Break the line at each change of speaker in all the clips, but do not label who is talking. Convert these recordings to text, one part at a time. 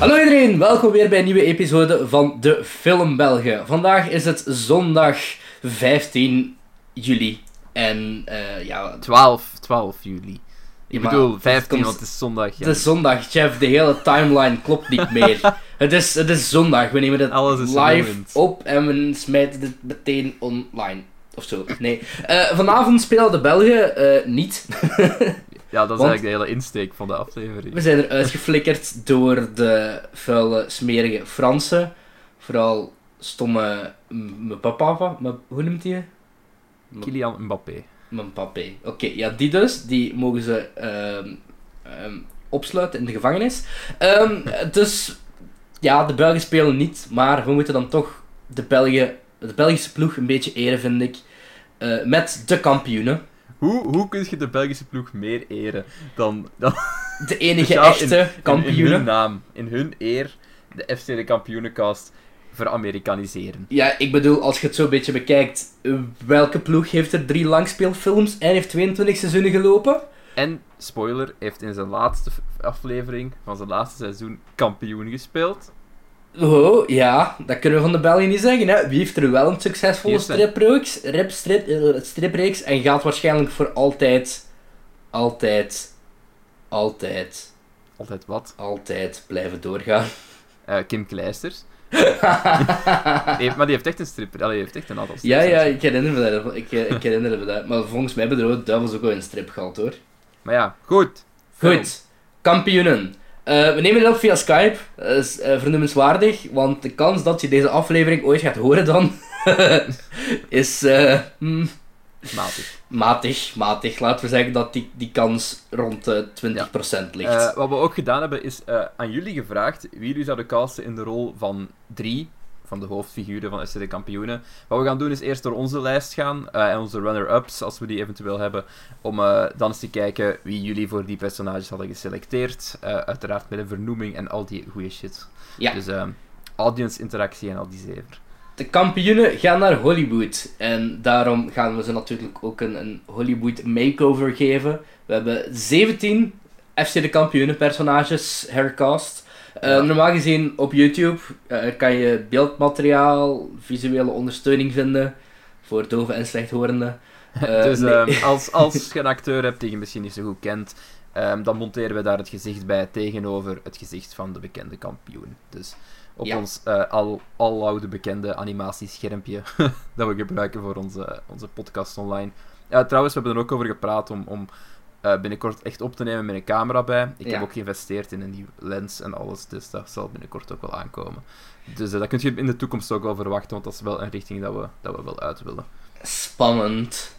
Hallo iedereen, welkom weer bij een nieuwe episode van de Film Belgen. Vandaag is het zondag 15 juli. En eh, ja,
12, 12 juli.
Ja,
Ik
maar
bedoel,
het
15,
komt-
want het is zondag. Ja.
het is zondag, Jeff. De hele timeline klopt niet meer. het, is, het is zondag, we nemen dit
Alles is
live
vernieuwend.
op en we smijten dit meteen online. Of zo, nee. Eh, vanavond spelen de Belgen eh, niet.
ja, dat is
want-
eigenlijk de hele insteek van de aflevering.
We zijn er uitgeflikkerd door de vuile, smerige Fransen. Vooral stomme m- mijn papa, mijn- hoe noemt hij je?
Kylian Mbappé.
Mijn papé. Oké, ja, die dus, die mogen ze ehm, ehm, opsluiten in de gevangenis. Ehm, dus ja, de Belgen spelen niet, maar we moeten dan toch de, Belgen, de Belgische ploeg een beetje eren, vind ik. eh, met de kampioenen.
Hoe, hoe kun je de Belgische ploeg meer eren dan, dan
De enige
Ja, in-
echte
in, in hun
kampioenen.
naam, in hun eer, de FC de Kampioenencast veramericaniseren?
Ja, ik bedoel, als je het zo'n beetje bekijkt, eh, welke ploeg heeft er drie langspeelfilms en heeft 22 seizoenen gelopen?
En, spoiler, heeft in zijn laatste f- aflevering van zijn laatste seizoen kampioen gespeeld.
Oh, ja, dat kunnen we van de Belgen niet zeggen. Hè. Wie heeft er wel een succesvolle
Eerste.
stripreeks, rip, strip, eh, stripreeks en gaat waarschijnlijk voor altijd, altijd, altijd,
Altijd wat.
altijd blijven doorgaan?
Eh, Kim Kleisters. Die heeft- maar die heeft echt een stripper. Allee, die heeft echt een aantal
ja, ja,
strips.
ik herinner me dat. Ik, eh, ik herinner me dat. Maar volgens mij hebben de Rode Duivels ook wel een strip gehad, hoor.
Maar ja, goed.
Goed, kampioenen. Eh, we nemen het op via Skype. Dat is eh, vernoemenswaardig, want de kans dat je deze aflevering ooit gaat horen dan is eh, hmm,
Matig.
matig, matig. Laten we zeggen dat die, die kans rond de 20% ligt.
Eh, wat we ook gedaan hebben, is eh, aan jullie gevraagd wie jullie zouden casten in de rol van drie, van de hoofdfiguren van FC de Kampioenen. Wat we gaan doen is eerst door onze lijst gaan eh, en onze runner-ups, als we die eventueel hebben, om eh, dan eens te kijken wie jullie voor die personages hadden geselecteerd. Eh, uiteraard met een vernoeming en al die goede shit.
Ja.
Dus eh, audience-interactie en al die zever.
De kampioenen gaan naar Hollywood. En daarom gaan we ze natuurlijk ook een, een Hollywood makeover geven. We hebben 17 FC de kampioenen personages hercast. Eh,
Ja.
Normaal gezien op YouTube eh, kan je beeldmateriaal, visuele ondersteuning vinden voor doven en slechthorenden. Eh,
dus
nee.
ehm, als, als je een acteur hebt die je misschien niet zo goed kent, ehm, dan monteren we daar het gezicht bij tegenover het gezicht van de bekende kampioen. Dus op
Ja.
ons eh, al, aloude bekende animatieschermpje dat we gebruiken voor onze, onze podcast online. Ja, trouwens, we hebben er ook over gepraat om, om eh, binnenkort echt op te nemen met een camera bij. Ik
Ja.
heb ook geïnvesteerd in een nieuwe lens en alles, dus dat zal binnenkort ook wel aankomen. Dus eh, dat kun je in de toekomst ook wel verwachten, want dat is wel een richting dat we, dat we wel uit willen.
Spannend.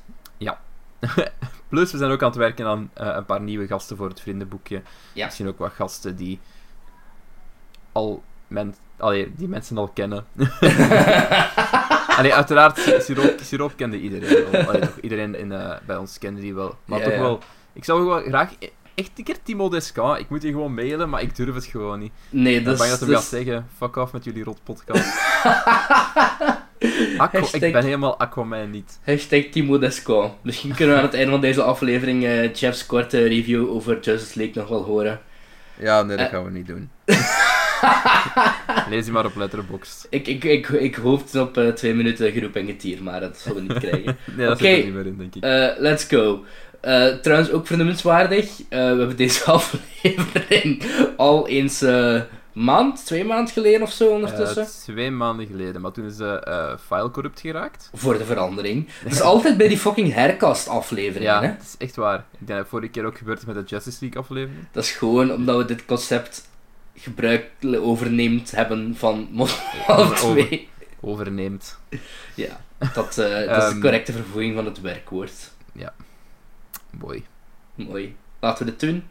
Plus, we zijn ook aan het werken aan eh, een paar nieuwe gasten voor het vriendenboekje.
Ja.
Misschien ook wat gasten die al men, allee, die mensen al kennen. allee, uiteraard, Si- Siroop, Siroop kende iedereen wel. Allee, toch iedereen in, eh, bij ons kende die wel. Maar
Ja,
toch
ja.
wel, ik zou ook wel graag... e- Echt een keer Timo Descamps. Ik moet je gewoon mailen, maar ik durf het gewoon niet.
Nee, dus-
Ik ben
dat
bang
is...
dat hij
dat
gaat
is-
zeggen, fuck off met jullie rotpodcast. Aqua, ik
Hashtag-
ben helemaal Aquaman niet.
Hashtag Timo Desco. Misschien kunnen we aan het einde van deze aflevering eh, Jeff's korte review over Justice League nog wel horen.
Ja, nee,
dat
gaan we niet doen. Lees die maar op Letterboxd.
Ik, ik, ik, ik hoopte op eh, twee minuten geroep en getier, maar dat zullen we niet krijgen.
Nee, dat
Oké.
zit er niet meer in, denk ik.
Eh, let's go. Eh, trouwens, ook vernoemenswaardig. eh, we hebben deze aflevering al eens eh maand, twee maanden geleden of zo ondertussen.
Eh, twee maanden geleden, maar toen is de eh, file corrupt geraakt.
Voor de verandering. Het is altijd bij die fucking hercast afleveringen.
Ja,
Hè?
dat is echt waar. Ik denk dat het vorige keer ook gebeurd is met de Justice League aflevering.
Dat is gewoon omdat we dit concept gebruik overneemd hebben van Model 2.
Overneemt.
Ja, dat, eh, dat is de
Ehm.
correcte vervoeging van het werkwoord.
Boy.
Mooi. Laten we dit doen.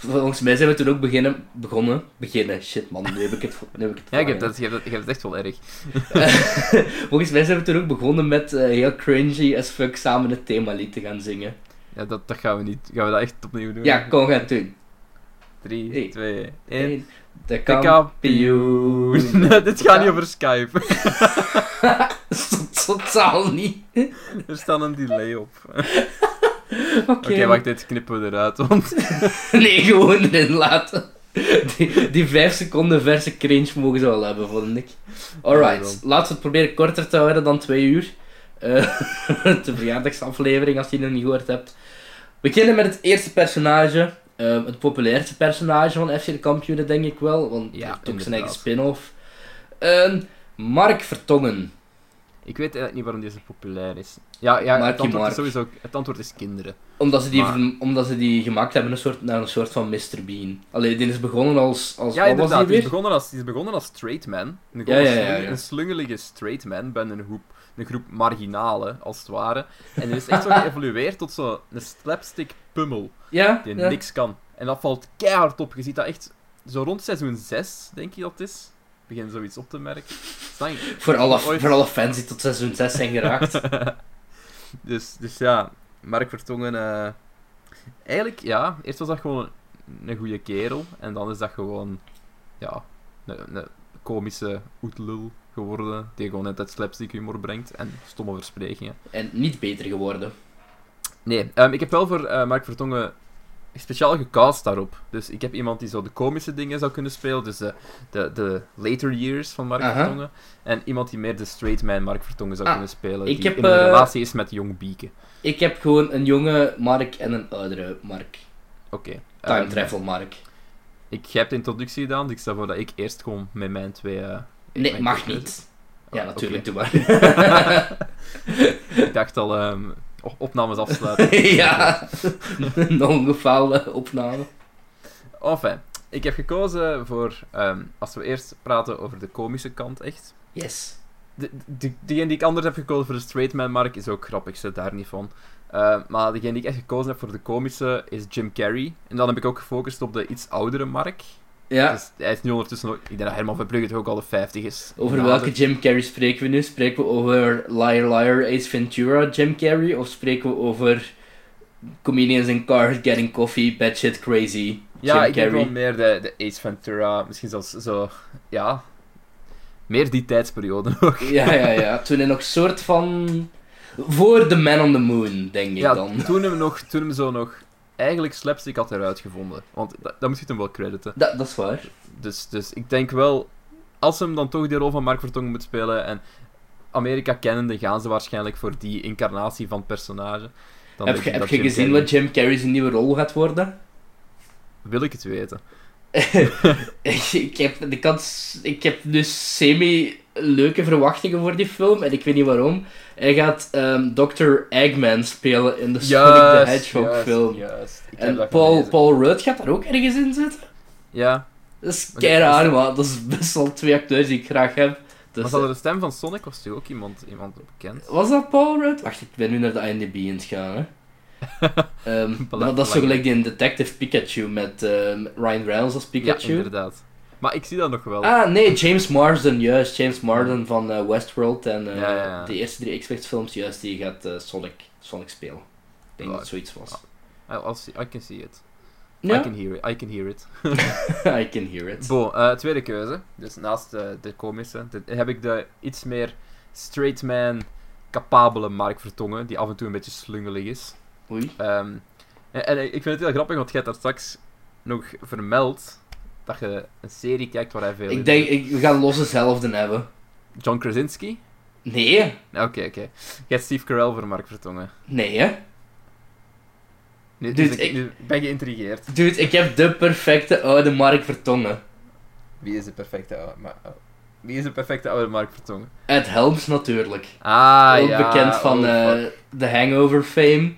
Volgens mij zijn we toen ook beginnen, begonnen. Beginnen. Shit man, nu heb ik het. Nu heb ik het
Ja, je
vervangen.
hebt, dat, je, hebt dat- je hebt het echt wel erg.
Volgens mij zijn we toen ook begonnen met eh, heel cringy as fuck samen het themalied te gaan zingen.
Ja, dat, dat gaan we niet. Gaan we dat echt opnieuw doen?
Ja, kom, we gaan het doen.
3,
Hey.
2, 1.
Eén, De
De
kampioen.
kampioen. Dit gaat niet over Skype.
Tot- Totaal niet.
Er staat een delay op. Oké,
Oké,
wacht, dit knippen we eruit, want
Nee, gewoon erin laten. Die, die 5 seconden verse cringe mogen ze wel hebben, vond ik. Alright, laten we het proberen korter te houden dan 2 uur. Eh, de verjaardagsaflevering, als je die nog niet gehoord hebt. We beginnen met het eerste personage. eh, het populairste personage van FC de Kampioenen, denk ik wel. Want hij
Ja,
heeft ook zijn eigen
inderdaad.
spin-off. Eh, Mark Vertongen.
Ik weet eigenlijk niet waarom deze populair is. Ja, ja
Marky
het, antwoord
Mark.
is sowieso, het antwoord is kinderen.
Omdat ze die,
Maar-
ver- omdat ze die gemaakt hebben een soort, naar een soort van Mr. Bean. Allee, die is begonnen als... als
Ja,
wat was die
inderdaad. Die is,
weer?
begonnen als, die is begonnen als straight man. Een,
Ja, ja,
gewoon
ja,
slung-
ja.
een slungelige straight man bij een groep, een groep marginalen, als het ware. En die is echt zo geëvolueerd tot zo'n slapstick pummel
Ja,
die
ja.
niks kan. En dat valt keihard op. Je ziet dat echt zo rond seizoen 6, denk je dat het is. Ik begin zoiets op te merken. Stang.
Voor alle,
Ooit.
voor alle fans die tot seizoen 6 zijn geraakt.
Dus, dus ja, Mark Vertongen. eh, eigenlijk, ja, eerst was dat gewoon een goede kerel. En dan is dat gewoon, ja, een, een komische oetlul geworden. Die gewoon net het slapstick humor brengt. En stomme versprekingen.
en niet beter geworden.
Nee, ehm, ik heb wel voor eh, Mark Vertongen speciaal gecast daarop. Dus ik heb iemand die zo de komische dingen zou kunnen spelen. Dus de, de, de later years van Mark
Aha.
Vertongen. En iemand die meer de straight man Mark Vertongen zou
Ah,
kunnen spelen.
ik
die
heb,
in een
eh,
relatie is met Jong Bieke.
Ik heb gewoon een jonge Mark en een oudere Mark.
Oké.
Time
ehm,
travel Mark.
Ik heb de introductie gedaan, dus ik stel voor dat ik eerst gewoon met mijn twee... eh,
Nee,
mijn
mag
twee
niet. Ja,
Oh,
natuurlijk,
oké.
doe maar.
keuzes. Ik dacht al, ehm, op- opnames afsluiten.
ja, een ongefaalde opname.
Enfin, ik heb gekozen voor, ehm, als we eerst praten over de komische kant, echt.
Yes.
De, de, degene die ik anders heb gekozen voor de straight man, Mark, is ook grappig, zit daar niet van. Eh, maar degene die ik echt gekozen heb voor de komische is Jim Carrey. En dan heb ik ook gefocust op de iets oudere Mark.
Ja,
Dus hij is nu ondertussen ook... Ik denk dat Herman van Brugge toch ook al de 50 is.
over
Nou,
welke Jim Carrey spreken we nu? Spreken we over Liar Liar Ace Ventura Jim Carrey? Of spreken we over Comedians in Cars Getting Coffee, Bad Shit Crazy
Ja,
Jim
ik denk wel
Carrey?
meer de, de Ace Ventura, misschien zelfs zo, ja, meer die tijdsperiode ook.
Ja, ja, ja. Toen hij nog soort van... Voor The Man on the Moon, denk ik
Ja,
dan.
toen hem, nog, toen hem zo nog, eigenlijk slapstick had eruit gevonden, want dat, dat moet je hem wel crediten.
Dat, dat is waar.
Dus, dus ik denk wel, als hem dan toch die rol van Mark Vertongen moet spelen en Amerika kennende gaan ze waarschijnlijk voor die incarnatie van het personage. Dan
heb
denk
je,
ik
heb
dat
je
Jim
gezien
Carrey-
wat Jim Carrey's nieuwe rol gaat worden?
Wil ik het weten.
ik, heb, de kans, ik heb dus semi-leuke verwachtingen voor die film en ik weet niet waarom. Hij gaat ehm, Dr. Eggman spelen in de Sonic the Hedgehog
juist,
film.
juist. Ik heb
En
dat
Paul,
gelezen.
Paul Rudd gaat daar ook ergens in zitten.
Ja,
Dat is
Maar
kei
dat is-
raar, maar dat is best wel twee acteurs die ik graag heb. Dus,
dus- maar ze hadden de stem van Sonic, was natuurlijk ook iemand, iemand bekend.
Was dat Paul Rudd? Wacht, ik ben nu naar de IMDb aan het gaan, hè. Ehm, maar dat is zo gelijk die in Detective Pikachu met ehm, Ryan Reynolds als Pikachu.
Ja, inderdaad. Maar ik zie dat nog wel.
Ah, nee, James Marsden, juist. James Marsden van eh, Westworld en eh,
Ja, ja, ja.
de eerste drie X-Files films, juist, die gaat eh, Sonic, Sonic spelen. Ik denk dat het zoiets was.
I, I'll see- I can see it. Ah, I
Ja,
can hear it. I can hear it.
I can hear it.
Bo, eh, tweede keuze. Dus naast eh, de komische de- heb ik de iets meer straight man capabele Mark Vertongen, die af en toe een beetje slungelig is.
Oei.
Ehm, en, en ik vind het heel grappig, want jij hebt daar straks nog vermeld dat je een serie kijkt waar hij veel in
Ik denk,
zit.
ik, we gaan los dezelfde hebben.
John Krasinski?
Nee,
Oké, oké. Jij hebt Steve Carell voor Mark Vertongen.
nee, hè.
Nu, nu
Dude,
ben ik,
ik-
nu ben ik geïntrigeerd.
Dude, ik heb de perfecte oude Mark Vertongen.
Wie is de perfecte oude, maar, wie is de perfecte oude Mark Vertongen?
Ed Helms natuurlijk.
Ah,
Ook
ja.
bekend van
oh,
eh,
fuck.
de Hangover fame.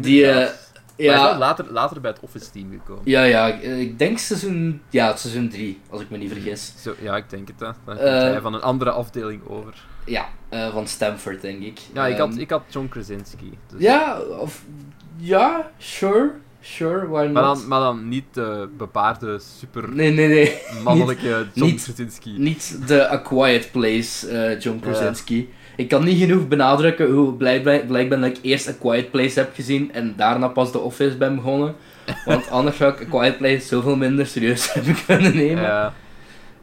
die, eh,
Inderdaad. Maar hij is wel
Ja,
later, later bij het Office Team gekomen.
ja, ja, ik- ik denk seizoen, ja, seizoen 3, als ik me niet vergis.
Zo, ja, ik denk het. Hè. Dan komt
Eh,
hij van een andere afdeling over.
Ja, eh, van Stanford, denk ik.
Ja, ik
Ehm,
had, ik had John Krasinski. Dus.
Ja, of... Ja, sure. Sure, why not?
Maar dan, maar dan niet de bepaarde, super
Nee, nee, nee.
mannelijke John
niet-
Krasinski.
Niet de A Quiet Place, eh, John Krasinski. Ik kan niet genoeg benadrukken hoe blij, ben- blij ik ben dat ik eerst A Quiet Place heb gezien en daarna pas The Office ben begonnen. Want anders zou ik A Quiet Place zoveel minder serieus hebben kunnen nemen.
Ja.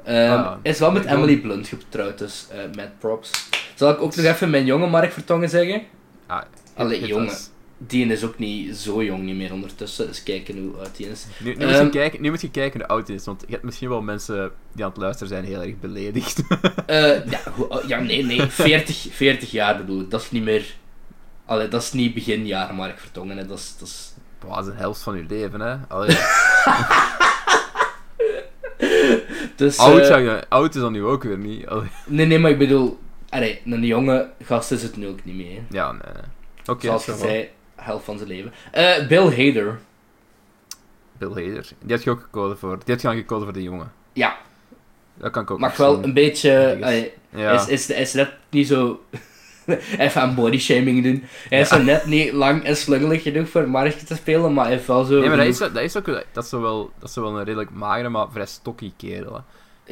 Ehm,
Ah.
is wel met
Ik
Emily Blunt getrouwd, dus eh, met props. Zal ik ook nog even mijn jonge Mark Vertongen zeggen?
Ah,
Allee,
hit
jongen.
us.
die is ook niet zo jong niet meer ondertussen. Dus kijken hoe oud die is.
Nu, nu, moet je
Ehm.
kijken, nu moet je kijken hoe oud het is, want je hebt misschien wel mensen die aan het luisteren zijn heel erg beledigd.
Eh, ja, hoe oud- ja, nee, nee. 40, 40 jaar bedoel ik. Dat is niet meer... Allee, dat is niet beginjaar Mark Vertongen. Hè. Dat, is, dat is
Wow, dat is de helft van je leven, hè. Allee,
Dus,
oud,
eh,
zou je, oud is dan nu ook weer niet. Allee,
Nee, nee, maar ik bedoel... Allee, een jonge gast is het nu ook niet meer. hè.
ja, nee, nee. Oké,
Zoals
dat
je
is wel.
zei, helft van zijn leven. Eh, Bill Hader.
Bill Hader. Die had je ook gekozen voor. Die had je dan gekozen voor de jongen.
Ja.
Dat kan ik ook
Mag
nog
wel
zien.
een beetje...
Ergens.
allee,
Ja.
Is, is, is net niet zo... Even aan body shaming doen. Hij is er net niet lang en slungelig genoeg voor Marge te spelen, maar hij heeft wel zo...
Nee, maar dat is,
genoeg-
dat is ook dat is zo wel, dat is zo wel een redelijk magere, maar vrij stokkie kerel. hè.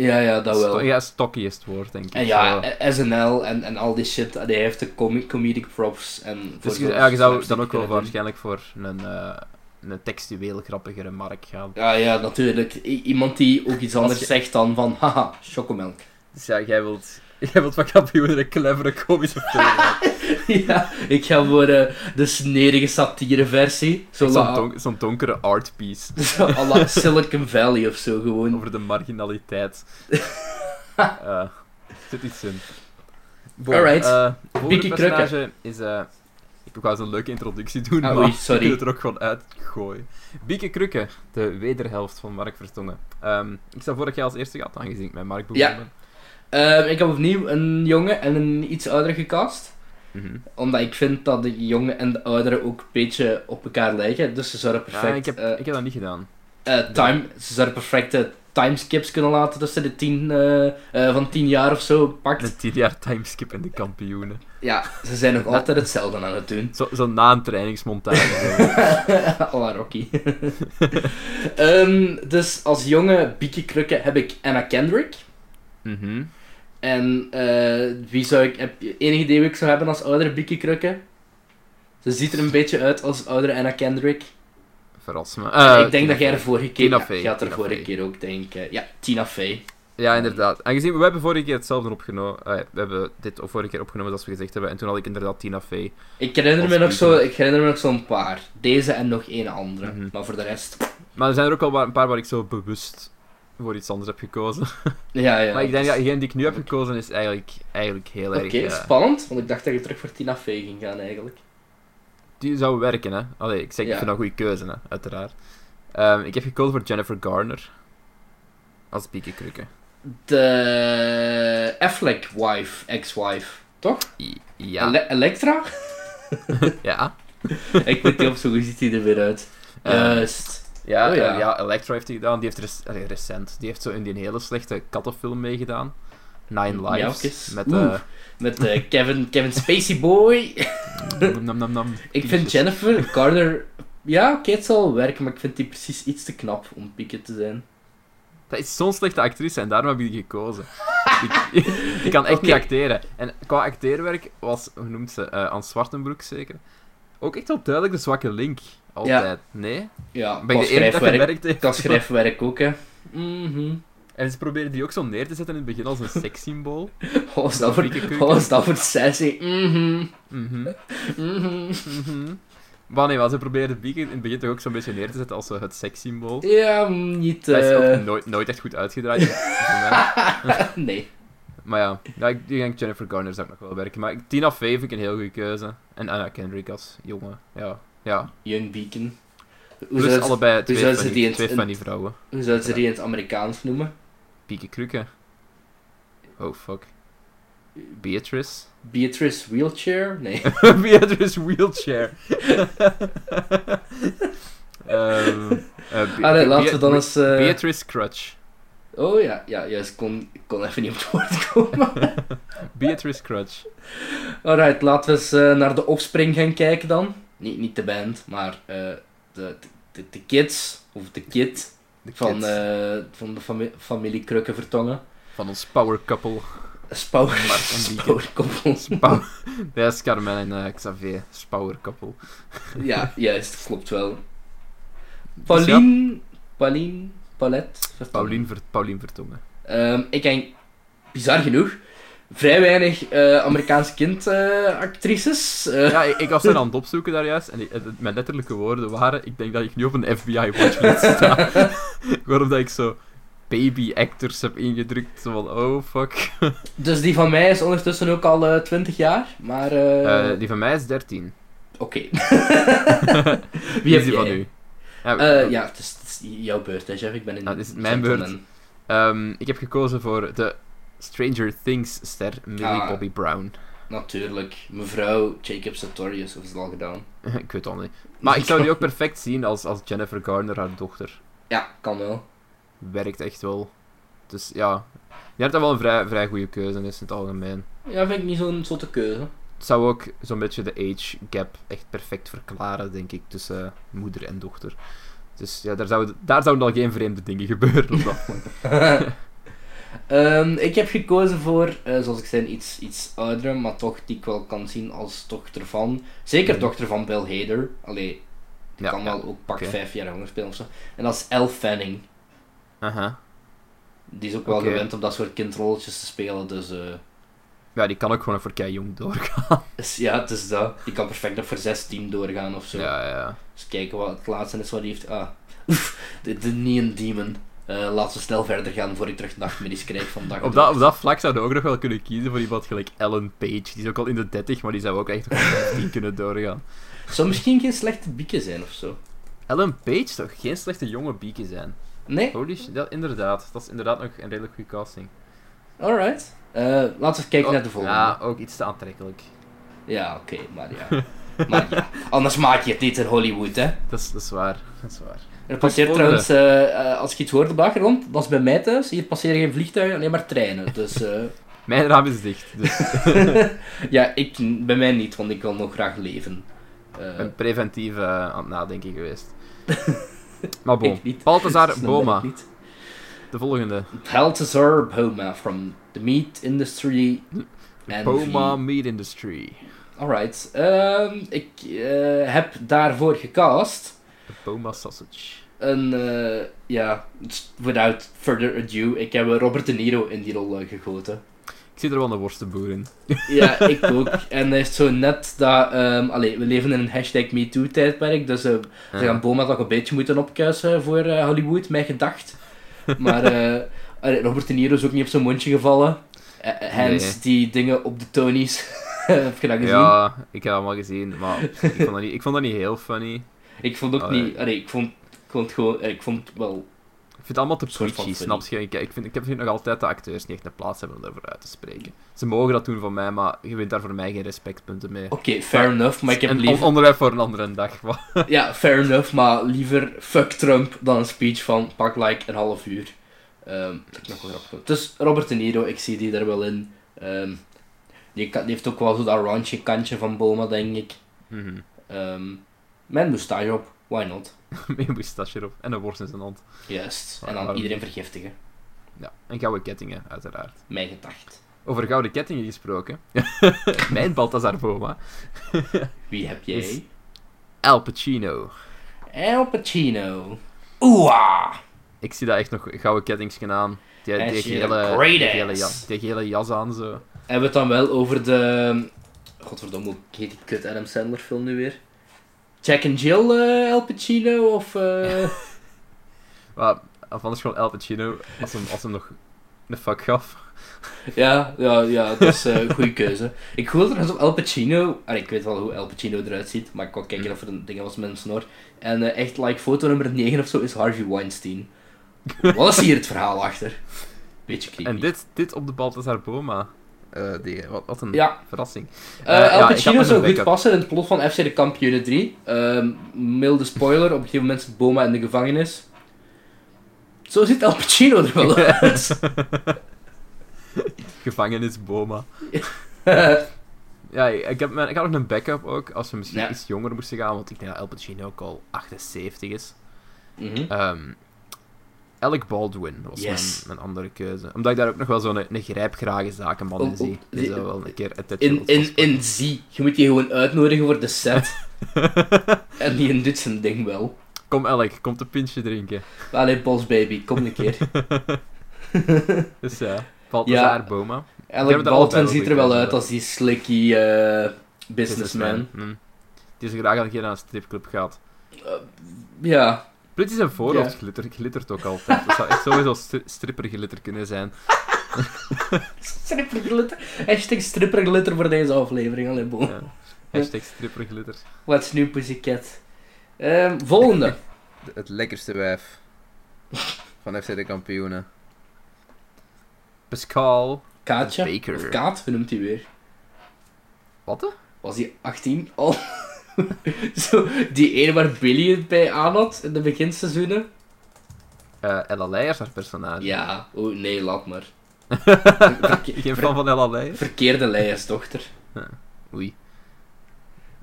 Ja, ja, dat wel.
Sto- ja, stokkie is het woord, denk ik.
En
Zo.
ja, eh, SNL en, en al die shit, die heeft de comi- comedic props. En
Dus je,
voor-
ja, je zou
voor-
dan ook wel
kunnen doen.
waarschijnlijk voor een, eh, een textueel grappigere markt gaan.
Ja, ja, natuurlijk. I- iemand die ook iets anders
je-
zegt dan van, haha, chocomelk.
Dus ja, jij wilt, jij wilt van kampioenen een clevere, komische film. maken.
ja, ik ga voor eh, de snerige satireversie. Zo
Zo'n
la,
don- zo'n donkere art piece
zo à la Silicon Valley of zo gewoon.
over de marginaliteit. Eh, Er zit iets in. Bon,
Alright.
eh, het volgende
Pikkie
personage is... eh, ik wou eens een leuke introductie doen,
Ah,
maar
oei,
ik
sorry.
wil het er ook gewoon uitgooien. Bieke Krukke, de wederhelft van Mark Vertongen. Ehm, ik stel voor dat jij als eerste gaat, aangezien ik met Mark begonnen
Ja.
ben.
Ehm, ik heb opnieuw een jongen en een iets oudere gecast.
Mhm.
Omdat ik vind dat de jongen en de oudere ook een beetje op elkaar lijken. Dus ze zouden
Ja,
perfect...
ik, heb,
eh,
ik heb dat niet gedaan.
eh, time, ze zouden perfecte timeskips kunnen laten tussen de tien, eh, eh, van 10 jaar of zo pakt.
Een 10 jaar timeskip in de kampioenen.
Ja, ze zijn nog altijd hetzelfde aan het doen.
Zo- Zo'n na een trainingsmontage.
Alla Rocky. Ehm, dus als jonge Bieke Krukke heb ik Anna Kendrick.
Mhm.
En eh, wie zou ik... Heb je enig idee wie ik zou hebben als oudere Bieke Krukke? Ze ziet er een beetje uit als oudere Anna Kendrick.
Verras me. Eh,
ik denk dat jij
Tina
er
Fey.
vorige keer...
Tina
ja,
Fey,
je had er
Tina
vorige
Fey.
keer ook, denk ik. eh, ja, Tina Fey.
Ja, inderdaad. Aangezien we hebben vorige keer hetzelfde opgenomen. eh, we hebben dit ook vorige keer opgenomen, zoals we gezegd hebben. En toen had ik inderdaad Tina Fey.
Ik herinner, me
Als
nog zo,
Beatles.
ik herinner me nog zo'n paar. Deze en nog één andere.
Mhm.
Maar voor de rest...
Maar er zijn er ook al wa- een paar waar ik zo bewust voor iets anders heb gekozen.
Ja, ja.
maar ik denk dat
dat is-
degene die ik nu heb gekozen is eigenlijk, eigenlijk heel
Oké,
erg... eh,
spannend. Want ik dacht dat je terug voor Tina Fey ging gaan, eigenlijk.
die zou werken, hè. Allee, ik zeg,
Ja.
ik vind dat een goede keuze, hè. Uiteraard. Ehm, ik heb gekozen voor Jennifer Garner. Als Bieke Krukke.
De... Affleck-wife, ex-wife. Toch?
I- Ja.
Ele- Elektra?
ja.
ik weet niet of zo, hoe ziet hij er weer uit?
Eh,
Juist.
Ja,
Oh, ja.
ja. ja, Electra heeft die gedaan. Die heeft rec- allee, recent. Die heeft zo in die hele slechte kattenfilm meegedaan. Nine Lives.
Miauwkes.
Met...
Oeh.
eh,
Met eh, Kevin, Kevin Spacey Boy.
nom, nom, nom, nom.
ik vind
Pietjes.
Jennifer Garner... Ja, oké, het zal wel werken, maar ik vind die precies iets te knap om pikken te zijn.
Dat is zo'n slechte actrice en daarom heb ik die gekozen. Die, die kan echt
Oké.
niet acteren. En qua acteerwerk was, hoe noemt ze, eh Anne Zwartenbroek zeker, ook echt wel duidelijk de zwakke link. Altijd. Nee?
Ja,
Ben
qua
ik de enige dat
schrijfwerk.
gemerkt heeft?
Kan schrijfwerk ook, hè. Mhm.
En ze probeerden die ook zo neer te zetten in het begin als een sekssymbool.
Wat was dat voor,
Rieke Keuken.
wat was dat voor sessie? Mhm.
Mhm.
Mhm.
Mhm. Maar nee, maar ze probeerden Bieke in het begin toch ook zo'n beetje neer te zetten als zo het sekssymbool.
Ja, mm, niet...
Dat is
eh,
ook nooit, nooit echt goed uitgedraaid. voor mij.
nee.
maar ja, ja ik ik denk Jennifer Garner zou ook nog wel werken. Maar Tina Fey vind ik een heel goede keuze. En Anna Kendrick als jongen. Ja, ja.
Young Beacon. Hoe
Plus
zou, ze,
allebei twee,
zou ze
van, die,
die in-
twee
in-
van die vrouwen.
hoe zou ze die in het Amerikaans noemen?
Pieke Krukke. Oh fuck. Beatrice.
Beatrice Wheelchair? Nee.
Beatrice Wheelchair. Ehm, eh, Be-
Allee,
Be-
laten we dan
Be-
eens... eh,
Beatrice Crutch.
Oh ja, ja, juist. Ik kon, ik kon even niet op het woord komen.
Beatrice Crutch.
Alright, laten we eens eh, naar de offspring gaan kijken dan. Niet, niet de band, maar eh, de, de, de kids. Of de kid
De
van,
kids.
eh, van de fami- familie Krukken Vertongen.
Van ons power couple.
Spouwer,
Mark en Bieke.
spouwerkoppel.
Spouw. Dat is Carmen en eh, Xavier. Spouwer couple.
Ja, juist, klopt wel.
Dus ja,
Pauline, Pauline, Paulette. Vertongen.
Paulien, Ver- Paulien Vertongen.
Ehm, ik denk, bizar genoeg, vrij weinig eh, Amerikaanse eh, kindactrices.
Ja, ik, ik was er aan het opzoeken daar juist. En die- eh, mijn letterlijke woorden waren... Ik denk dat ik nu op een FBI-watchlist sta. Waarom dat ik zo... Baby actors heb ingedrukt. Zo van, oh fuck.
dus die van mij is ondertussen ook al eh, 20 jaar. Maar, eh,
Eh, die van mij is 13.
oké.
Wie
heb
is die van
jij?
u? Ja,
Eh, ja, het is, het is jouw beurt, hè, Jeff. Ik ben in
Ah, het is mijn beurt. ehm, ik heb gekozen voor de Stranger Things-ster Millie
Ah.
Bobby Brown.
Natuurlijk. Mevrouw Jacob Sartorius heeft het al gedaan.
ik weet het al niet. Maar ik zou die ook perfect zien als, als Jennifer Garner, haar dochter.
Ja, kan wel.
Werkt echt wel. Dus ja... Je hebt daar wel een vrij, vrij goede keuze is in het algemeen.
Ja, vind ik niet zo'n zotte keuze.
Het zou ook zo'n beetje de age gap echt perfect verklaren, denk ik, tussen eh, moeder en dochter. Dus ja, daar zouden, daar zouden al geen vreemde dingen gebeuren. Op dat.
Ehm, ik heb gekozen voor, eh, zoals ik zei, iets, iets oudere, maar toch die ik wel kan zien als dochter van. Zeker
Mhm.
dochter van Bill Hader. Allee, die
Ja,
kan
ja.
wel ook pak
oké.
vijf jaar jonger spelen ofzo. En dat is Elle Fanning.
Aha.
Die is ook wel
Oké.
gewend om dat soort kindrolletjes te spelen, dus... eh,
Ja, die kan ook gewoon voor kei jong doorgaan.
dus ja, het is dat. Die kan perfect nog voor 16 doorgaan of zo.
Ja, ja.
Dus kijken wat het laatste is wat hij heeft. Ah, oef, de, de Neon Demon. Eh laten we snel verder gaan voor ik terug nachtmerries krijg vandaag.
Op dat, op dat vlak zouden we ook nog wel kunnen kiezen voor iemand gelijk Ellen Page. Die is ook al in de 30, maar die zou ook echt nog tot 10 kunnen doorgaan.
Zou misschien geen slechte bieken zijn of zo.
Ellen Page zou geen slechte jonge bieke zijn.
Nee?
Holy shit, dat, inderdaad. Dat is inderdaad nog een redelijk goede casting.
Alright. Eh, laten we eens kijken
Oh,
naar de volgende.
Ja,
Ja,
ook iets te aantrekkelijk.
oké, maar ja. maar ja. Anders maak je het niet in Hollywood, hè.
Dat is, dat is waar. Dat is waar.
Er passeert
volgende.
trouwens, eh, eh, als ik iets hoor op de achtergrond, dat is bij mij thuis. Hier passeren geen vliegtuigen, alleen maar treinen. Dus eh,
Mijn raam is dicht, dus
ja, ik, bij mij niet, want ik wil nog graag leven. Eh,
Ik ben preventief eh, aan het nadenken geweest. maar bon.
Ik niet.
Balthazar
snel ben ik
Boma,
niet.
de volgende.
Balthazar Boma from the meat industry. En
Boma Meat Industry.
Alright. Ehm, ik eh, heb daarvoor gecast.
De Boma Sausage.
Een, eh, ja, s- without further ado, ik heb eh, Robert De Niro in die rol eh, gegoten.
Ik zie er wel een worstenboer in.
Ja, ik ook. En hij heeft zo net dat... ehm allee, we leven in een hashtag MeToo-tijdperk, dus eh, Ze gaan
Ja.
Boma toch een beetje moeten opkuisen voor eh, Hollywood, mij gedacht. Maar eh, allee, Robert De Niro is ook niet op zijn mondje gevallen. Eh, eh, Hens,
Nee.
die dingen op de Tonys. heb je dat gezien?
Ja, ik heb hem al gezien, maar ik vond dat niet, ik vond dat niet heel funny.
Ik vond ook
Allee.
niet... Allee, ik vond, ik vond gewoon... eh, Ik vond wel...
Ik vind het allemaal te
Een soort van
preachy, snap
funny.
je? Ik, ik, vind, ik vind nog altijd de acteurs niet echt een plaats hebben om daarvoor uit te spreken. Ze mogen dat doen van mij, maar je wint daar voor mij geen respectpunten mee.
Oké, fair enough, maar ik heb
een on-
liever...
onderwerp voor een andere dag. maar-
Ja, fair enough, maar liever fuck Trump dan een speech van pak like een half uur. Ehm, dat ik nog wel grappig vond. Dus Robert De Niro, ik zie die er wel in. Ehm, die, kan- die heeft ook wel zo dat raunchy kantje van Boma, denk ik.
Mhm.
Ehm, mijn moustache op, why not?
Met een moustache erop en een worst in zijn hand.
Juist. En
Waarom-
dan iedereen vergiftigen.
Ja, en gouden kettingen, uiteraard.
Mijn gedacht.
Over gouden kettingen gesproken. Mijn Balthazar Boma.
Wie heb jij?
Is- Al Pacino.
Al Pacino. Oeh!
Ik zie daar echt nog gouden kettings aan. Die,
Hij
die
is hier
gele,
een great
die gele
ass.
jas, die gele jas aan zo.
Hebben we het dan wel over de... ehm, Godverdomme, hoe heet die kut Adam Sandler film nu weer? Jack and Jill eh Al Pacino of... eh,
Maar, of anders gewoon Al Pacino, als hem, als hem nog een fuck gaf.
ja, ja, ja, dat is eh, een goede keuze. Ik wil trouwens op Al Pacino... ah, ik weet wel hoe Al Pacino eruit ziet, maar ik kon
Mm.
kijken of er een ding was met een snor. En eh, echt, like, foto nummer 9 of zo is Harvey Weinstein. Wat is hier het verhaal achter? Beetje creepy.
En dit, dit op de Balthazar Boma. Eh, die, wat, wat een
Ja.
verrassing.
Eh,
Eh, ja,
Al
ik had
Pacino
nog
zou
een
goed
backup.
passen in het plot van FC de Kampioenen 3. Ehm, milde spoiler, op een gegeven moment zit Boma in de gevangenis. Zo ziet Al Pacino er wel uit.
Gevangenis Boma. Ja, ik, heb, mijn- ik had nog een backup ook, als we misschien
Ja.
iets jonger moesten gaan, want ik denk dat Al Pacino ook al 78 is.
Mhm.
Ehm Alec Baldwin was
Yes.
mijn, mijn andere keuze. Omdat ik daar ook nog wel zo'n een, een grijpgrage zakenman
Oh,
in
oh,
zie. Die
die-
zou wel een keer het
In, in, in zie. Je moet die gewoon uitnodigen voor de set. en die doet zijn ding wel.
Kom Alec, kom een pintje drinken.
Allee, Boss Baby, kom een keer.
Dus ja, Balthazar
Ja.
Boma.
Alec
er allebei
Baldwin
wel
ziet er
goeie
wel uit
kansen.
als die slicky eh, businessman.
Hm. Die is graag al een keer naar een stripclub gaat.
Ja.
Blit zijn voorhoofd glitter, glittert ook altijd. Dat zou echt sowieso stri- stripperglitter kunnen zijn.
Stripperglitter. Hashtag stripperglitter voor deze aflevering. Allee, boom.
Ja. Hashtag stripperglitter.
What's new, pussycat? Ehm, volgende.
De- Het lekkerste wijf van FC de kampioenen.
Pascal
Kaatje.
Baker.
Of Kaat, hoe noemt hij weer?
Wat? hè?
Was hij 18 al? Zo, die ene waar Billy het bij aan had in de beginseizoenen.
Eh, Ella Leijers, haar personage.
Ja, oh nee, laat maar.
Ik ben fan van Ella Leijers.
Verkeerde lijstdochter.
Oei.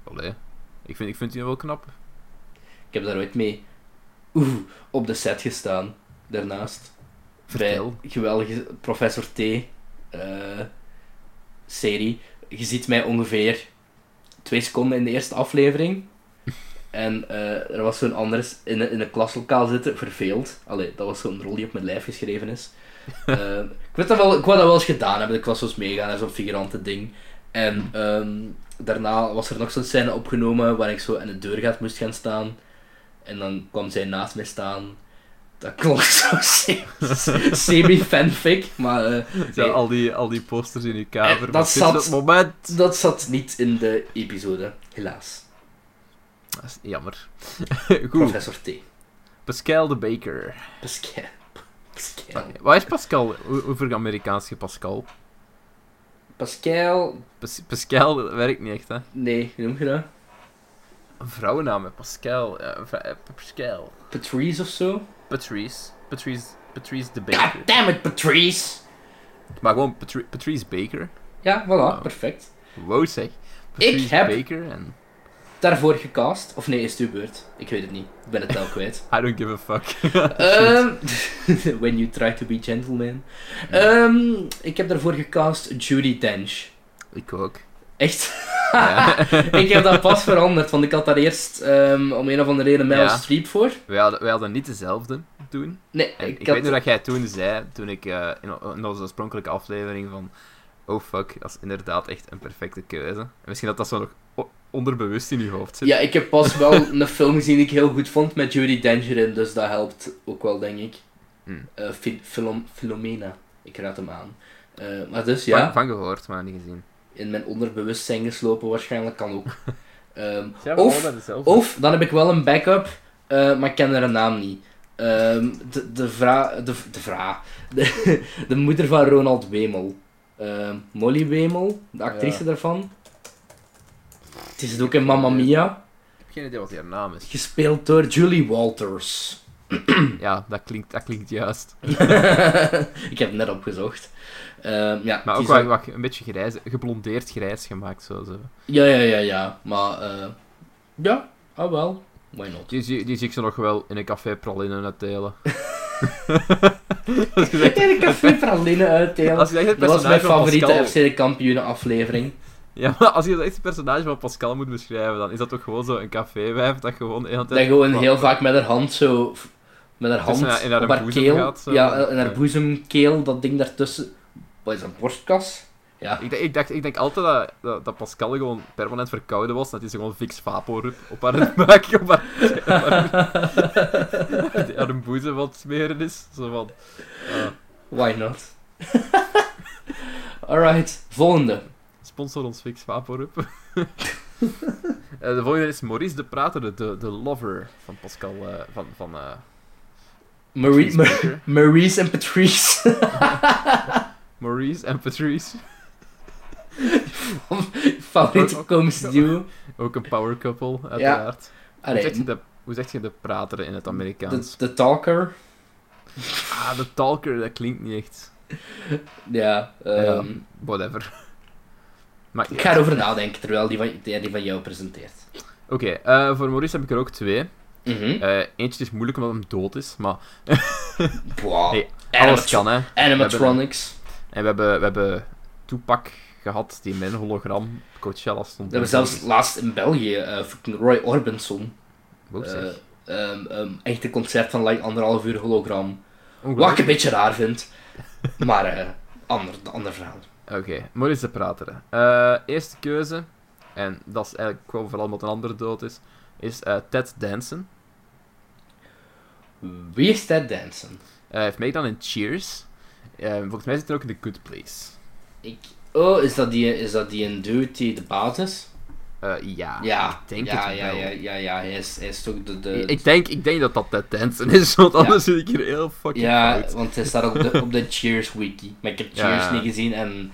Allee. Ik vind, ik vind die wel knap.
Ik heb daar ooit mee oeh, op de set gestaan. Daarnaast.
Vertel.
Bij geweldige Professor T eh, serie. Je ziet mij ongeveer twee seconden in de eerste aflevering. En eh, er was zo'n anders in, een- in een klaslokaal zitten, verveeld. Allee, dat was zo'n rol die op mijn lijf geschreven is. Eh, ik, weet dat wel, ik wou dat wel eens gedaan hebben. Ik was zo eens meegaan naar zo'n figurante ding. En ehm, daarna was er nog zo'n scène opgenomen waar ik zo aan de deurgat moest gaan staan. En dan kwam zij naast mij staan. Dat klonk zo se- semi-fanfic, maar eh,
Zo,
nee,
al, die, al die posters in uw kamer.
Eh, dat
maar dit is
zat-
het moment.
dat zat niet in de episode, helaas.
Dat is jammer. Goed.
Professor T.
Pascal de Baker.
Pascal. Pascal.
Waar is Pascal? Hoe- Hoeveel Amerikaans je Pascal?
Pascal.
Pas- Pascal werkt niet echt, hè?
Nee, hoe noem je dat?
Een vrouwennaam, hè, Pascal. Ja, een vrou- eh, Pascal.
Patrice of zo?
Patrice. Patrice. Patrice de Baker.
God damn it, Patrice!
Maar gewoon Patri- Patrice Baker.
Ja, voilà,
Wow.
perfect.
Wow zeg. Patrice
heb-
Baker en
Daarvoor gecast. Of nee, is het uw beurt? Ik weet het niet. Ik ben het wel kwijt.
I don't give a fuck.
Ehm, when you try to be gentleman. Ehm, ik heb daarvoor gecast Judy Dench.
Ik ook.
Echt?
Ja.
ik heb dat pas veranderd, want ik had daar eerst ehm, om een of andere reden Meryl
Ja.
Streep voor.
Wij hadden, wij hadden niet dezelfde toen.
Nee,
En ik
ik had...
weet nog dat jij toen zei, toen ik eh, in, o- in onze oorspronkelijke aflevering van Oh fuck, dat is inderdaad echt een perfecte keuze. En misschien dat dat zo nog o- onderbewust in je hoofd zit.
Ja, ik heb pas wel een film gezien die ik heel goed vond met Judy Dench in, dus dat helpt ook wel, denk ik.
Hmm.
Eh, Phil- Philom- Philomena, ik raad hem aan. Eh, maar dus
Van,
ja,
van gehoord, maar niet gezien.
in mijn onderbewustzijn geslopen waarschijnlijk kan ook. Ehm,
Zijn
we Of- allebei
dezelfde?
of, dan heb ik wel een backup, eh, maar ik ken haar naam niet. Ehm, de, de vra... De, de vra... De, de moeder van Ronald Wemel. Ehm, Molly Wemel, de actrice daarvan. Het is ook in Mamma Mia,
Ik heb geen idee wat haar naam is.
gespeeld door Julie Walters. Hm.
Ja, dat klinkt, dat klinkt juist.
ik heb het net opgezocht. Ehm, ja,
Maar
die
ook
zou-
wel wat- een beetje grijs, geblondeerd grijs gemaakt. Zo, zo.
Ja, ja, ja, ja. Maar, eh, ja, ah wel. Why not?
Die, zie- die zie ik ze nog wel in een café pralinnen uitdelen.
En ik heb veel pralinen uitdelen.
Als je echt het
Dat was mijn
personage van
favoriete
Pascal...
FC de kampioenen aflevering.
Ja, maar als je echt het personage van Pascal moet beschrijven, dan is dat toch gewoon zo'n caféwijf dat gewoon de hele
Dat
tijd...
gewoon heel vaak met haar hand zo... f- Met haar hand
Tussen haar- in haar
op haar
boezem
keel.
gaat, zo.
ja, in haar
Ja.
boezem, keel, dat ding daartussen. Wat is dat, borstkas? Ja.
Ik, denk- ik, dacht, ik denk altijd dat, dat, dat Pascal gewoon permanent verkouden was, dat hij zo gewoon fix vapor op haar aan het maken, op haar, op haar, die aan haar boezem wat smeren is. Zo van... eh,
Why not? Alright, volgende.
Sponsor ons fix vapor up. Eh, de volgende is Maurice de Prater, de, de lover van Pascal. eh, van, van, eh,
Marie,
Patrice Baker.
Maurice en Patrice.
Maurice en Patrice.
favoriete komische duo.
Ook een power couple, uiteraard. Hoe, zeg je
Allee,
de, hoe zeg je de Prater in het
de,
Amerikaans?
de talker.
Ah, de Talker, dat klinkt niet echt.
Ja,
Ja,
ehm,
whatever. Maar,
Ik ga erover nadenken terwijl die van, die die van jou presenteert.
Oké, eh, voor Maurice heb ik er ook twee.
Mhm.
Eh, eentje is moeilijk omdat hem dood is, maar
Wow.
hey,
Animat-
alles kan, hè.
Animatronics.
En we hebben, we hebben Toepak gehad, die mijn hologram Coachella stond.
We hebben zelfs laatst in België eh, fucking Roy Orbison.
Wow, zeg.
eh, ehm, ehm, echt een concert van like, anderhalf uur hologram. Wat ik
Ongelooflijk.
een beetje raar vind. Maar eh ander, ander verhaal.
Oké, Maurice de Prater. Eh, eerste keuze, en dat is eigenlijk gewoon vooral omdat een ander dood is, is eh, Ted Danson.
Wie is Ted Danson?
Eh, Hij heeft meegedaan in Cheers. Eh, volgens mij zit hij ook in The Good Place.
Ik... Oh, is dat, die, is dat die een dude die de baas is?
Eh, ja,
ja,
ik denk
ja,
het
ja,
wel.
ja, ja, ja, hij is, hij is toch de... de...
Ik, ik denk, ik denk dat dat Ted Danson is, want
Eh, Ja.
anders zit ik hier heel fucking
ja,
fout.
want hij staat op de, op de Cheers wiki. Maar ik heb Cheers
Ja.
niet gezien en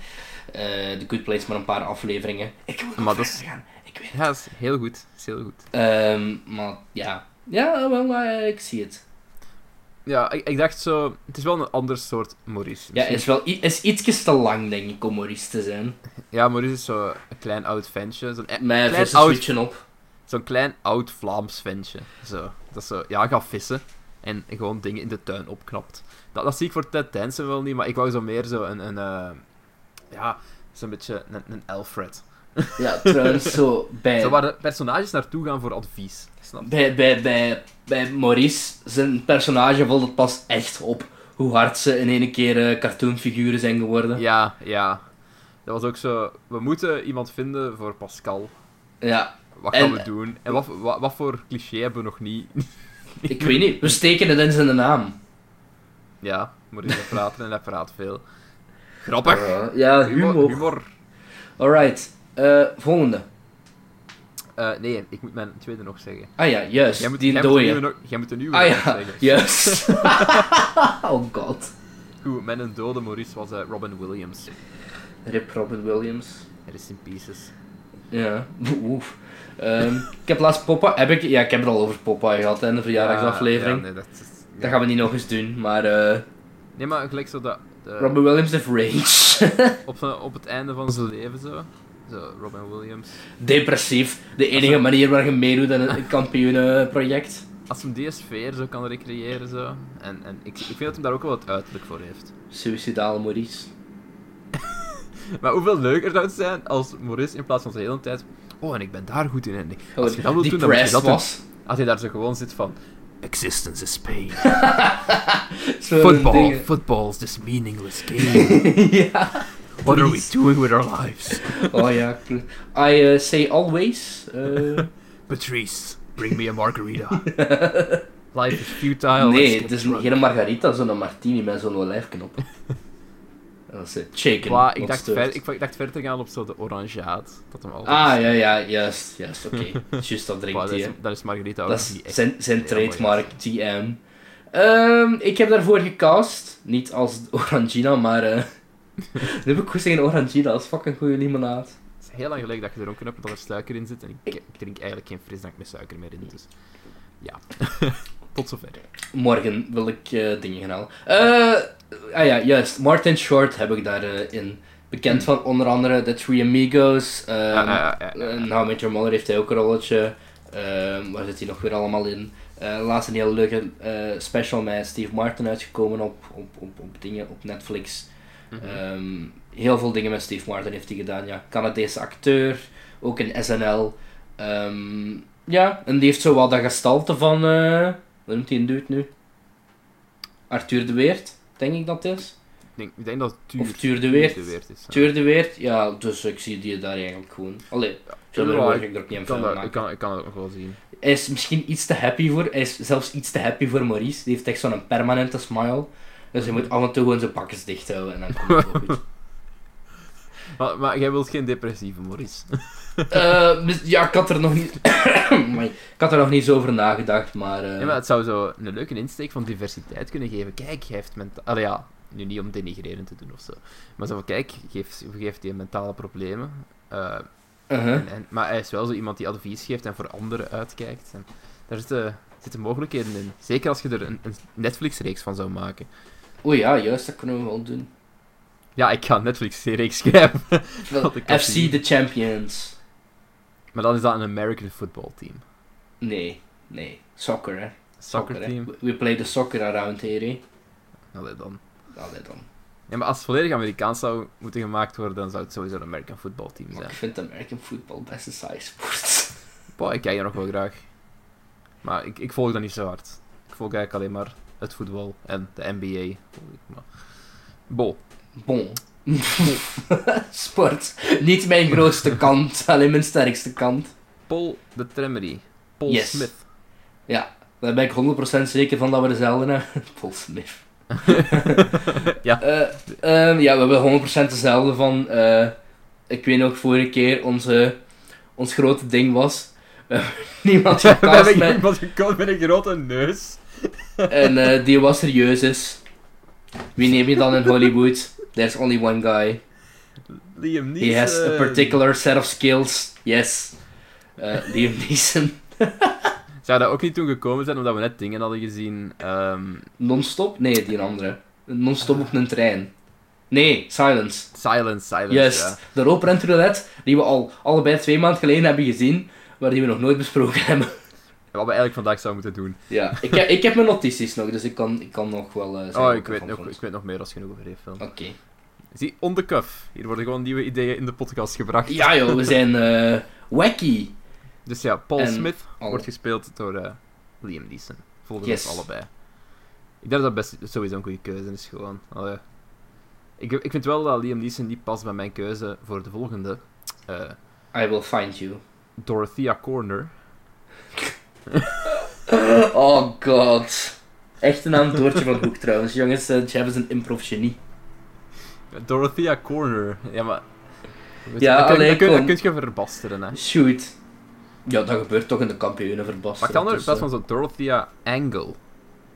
eh The Good Place maar een paar afleveringen. Ik wil nog
Maar dat is-
verder gaan. Ik weet het.
Ja, dat is heel goed. Dat is heel goed.
Ehm, maar ja. Ja, wel, eh, ik zie het.
Ja, ik, ik dacht zo... Het is wel een ander soort Maurice.
Ja, is wel i- is ietsjes te lang, denk ik, om Maurice te zijn.
Ja, Maurice is zo een klein oud ventje. Zo'n
Met
e- klein,
vissen
oud,
switchen op.
zo'n klein oud Vlaams ventje. Zo. Dat is zo... Ja, gaat vissen. En gewoon dingen in de tuin opknapt. Dat, dat zie ik voor Ted Danson wel niet, maar ik wou zo meer zo een... een eh, ja, zo'n beetje een, een Alfred.
Ja, trouwens, zo bij...
Zo waar de personages naartoe gaan voor advies. Snap je?
Bij, bij, bij, bij Maurice, zijn personage valt het pas echt op hoe hard ze in één keer eh, cartoonfiguren zijn geworden. Ja.
Ja, ja. Dat was ook zo. We moeten iemand vinden voor Pascal. Wat gaan
En-
we doen? En wat, wat, wat voor cliché hebben we nog niet?
ik weet niet. We steken het in zijn naam.
Ja, moet even praten en hij praat veel. Grappig.
ja,
humor.
humor.
humor.
Alright, eh, volgende.
Eh, nee, ik moet mijn tweede nog zeggen.
Ah ja, juist.
Jij moet,
die
jij moet een
dode.
nieuwe nog- jij moet een nieuwe
Ah
nog
ja,
zeggen.
juist. oh god.
Goed, met een dode Maurice was eh, Robin Williams.
Rip Robin Williams.
Er is in pieces.
Ja, oef. Ehm, ik heb laatst Popeye... Heb ik, ja, ik heb het al over Popeye gehad in de verjaardagsaflevering.
Ja, nee, dat, is,
Dat gaan we niet nog eens doen, maar... eh,
nee, maar gelijk zo dat. eh,
Robin Williams heeft rage.
op, zijn- op het einde van zijn leven zo. Zo, Robin Williams.
Depressief. De enige manier waar je meedoet aan een kampioenenproject.
Als hem die sfeer zo kan recreëren zo. En, en ik, ik vind dat hem daar ook wel wat uiterlijk voor heeft.
Suicidale Maurice.
Maar hoeveel leuker zou het zijn als Maurice in plaats van zijn hele tijd. Oh, en ik ben daar goed in. En als je dat wilt doen, dan moet je
Depressed
dat doen.
was.
Als hij daar zo gewoon zit van. Existence is pain.
Zo'n
Football,
ding.
football is this meaningless game.
ja.
What are we
Please.
doing with our lives?
Oh ja. kl- I eh, say always. eh,
Patrice, bring me a margarita. Life is futile.
nee,
let's
het
get
is
drunk.
geen margarita, zo'n martini met zo'n olijfknop. Dat is het. Chicken.
Wa, ik,
wat
dacht
steurt.
ver, ik, ik dacht verder gaan op zo de orangeaat. Dat hem al
Ah, ja, ja, juist, juist, oké. Juist, dat drinkt
dat,
hij,
is,
hè.
dat is Margarita ook
Dat is
niet echt.
zijn, zijn
heel
trademark, TM. Ehm, ik heb daarvoor gecast, niet als Orangina, maar... eh nu heb ik goed zeggen Orangina, dat is fucking goede limonade.
Het is heel lang geleden dat je gedronken hebt dat er suiker in zit. En ik, ik drink eigenlijk geen frisdrank met suiker meer in. Dus ja. Tot zover.
Morgen wil ik eh, dingen gaan halen. Eh, ah ja, juist, Martin Short heb ik daarin. in Bekend van onder andere The Three Amigos. ehm
Ah, ah, ah, ah.
eh, How I Met Your Mother heeft hij ook een rolletje. Ehm, waar zit hij nog weer allemaal in? Eh laatst een heel leuke eh, special met Steve Martin uitgekomen op, op, op, op dingen op Netflix.
Mhm.
Ehm, heel veel dingen met Steve Martin heeft hij gedaan. Ja, Canadese acteur, ook in SNL. Ehm, ja, en die heeft zo wel dat gestalte van. eh hoe noemt hij een dude nu? Arthur de Weert, denk ik dat het is.
ik, denk, ik denk dat het Tuur,
of Tuur de Weert.
Tuur de Weert is.
Arthur de Weert, ja, dus ik zie die daar eigenlijk gewoon. Allee, zo
ja,
ja,
ik-
ik er ook niet
Ik
een
kan,
film
dat,
maken.
ik, kan, ik kan het ook wel zien.
Hij is misschien iets te happy voor, hij is zelfs iets te happy voor Maurice. Die heeft echt zo'n permanente smile. Dus je
Mhm.
moet af en toe gewoon zijn bakjes dicht houden en dan komt het wel goed.
Maar, maar jij wilt geen depressieve Maurice.
Eh, mis- ja, ik had er nog niet. Amai, ik had er nog niet zo over nagedacht, maar. eh,
Ja, maar het zou zo een leuke insteek van diversiteit kunnen geven. Kijk, jij heeft mentaal... Allee, ja, nu niet om denigrerend te doen of zo. Maar zo van, kijk, geeft, geeft hij mentale problemen. Eh,
uh-huh.
En, en- maar hij is wel zo iemand die advies geeft en voor anderen uitkijkt. En daar zitten, zitten mogelijkheden in. Zeker als je er een, een Netflix-reeks van zou maken.
Oei, ja, juist, dat kunnen we wel doen.
Ja, ik ga een Netflix-reeks schrijven. Wat ik
FC The
zie.
Champions.
Maar dan is dat een American football team.
Nee, nee. Soccer, hè.
Soccer
hè.
team.
We, we play the soccer around here, hè.
Allee dan.
Allee dan.
Ja, maar als het volledig Amerikaans zou moeten gemaakt worden, dan zou het sowieso een American football team
Maar
zijn.
ik vind American football best een saai sport.
Boah, ik kijk er nog wel graag. Maar ik, ik volg dat niet zo hard. Ik volg eigenlijk alleen maar het voetbal en de NBA. volg ik, Maar... Bo.
Bon. Sport. Niet mijn grootste kant, alleen mijn sterkste kant.
Paul de Tremery. Paul
Yes.
Smith.
Daar ben ik 100% zeker van dat we dezelfde hebben. Paul Smith.
Ja.
Eh, ehm, ja, we hebben 100% dezelfde van. eh, ik weet nog, vorige keer onze, ons grote ding was. eh, niemand
We hebben
gecast met.
iemand gekozen met een grote neus.
En eh, die wat serieus is. Wie neem je dan in Hollywood? There's only one guy.
Liam Neeson.
He has a particular set of skills. Yes. Eh, Liam Neeson.
Zou dat ook niet toen gekomen zijn omdat we net dingen hadden gezien? ehm,
Non-stop? Nee, die andere. Non-stop op een trein. Nee, Silence.
silence, silence.
Juist.
Dus, ja.
De roper en roulette, die we al allebei twee maanden geleden hebben gezien, maar die we nog nooit besproken hebben.
Wat we eigenlijk vandaag zouden moeten doen.
Ja, ik, heb- ik heb mijn notities nog, dus ik kan, ik kan nog wel eh, zeggen
oh,
wat
ik weet,
ervan
nog,
vond.
ik weet nog meer als genoeg over die film.
Oké.
Zie, on the cuff. Hier worden gewoon nieuwe ideeën in de podcast gebracht.
Ja joh, we zijn eh, wacky.
Dus ja, Paul
En
Smith
al-
wordt gespeeld door eh, Liam Neeson. Volgens
Oh. Yes.
ons allebei. Ik denk dat dat best sowieso een goede keuze is, gewoon. Allee. Ik, ik vind wel dat Liam Neeson niet past bij mijn keuze voor de volgende. eh,
I will find you.
Dorothea Corner.
Oh god. Echte naam Doortje van Hoek trouwens. Jongens, eh, Jab is een improv genie.
Dorothea Corner. Ja, maar...
Ja,
dat kun-
allee,
dat kun,
kom.
dat kun je verbasteren, hè.
Shoot. Ja, dat gebeurt toch in de kampioenen dus, eh.
Maar
verbaasd.
dan in plaats van zo Dorothea Angle.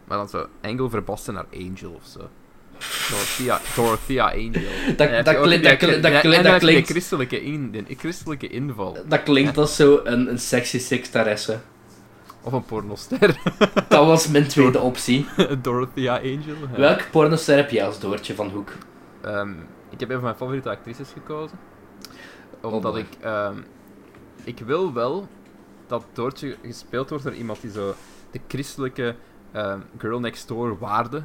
Maar dan zo Angle verbasten naar Angel of zo. Dorothea, Dorothea Angel. Eh,
Dat- dat klinkt- dat klinkt- dat klinkt- dat klinkt-
een christelijke, in, een christelijke inval.
Dat klinkt als zo een, een sexy sectaresse.
Of een pornoster.
Dat was mijn tweede optie.
Dorothea Angel. ja.
Welk pornoster heb jij als Doortje van Hoek?
Ehm, ik heb een van mijn favoriete actrices gekozen.
Oh
Omdat
boy.
ik... ehm, ik wil wel dat Doortje gespeeld wordt door iemand die zo de christelijke ehm, girl next door waarde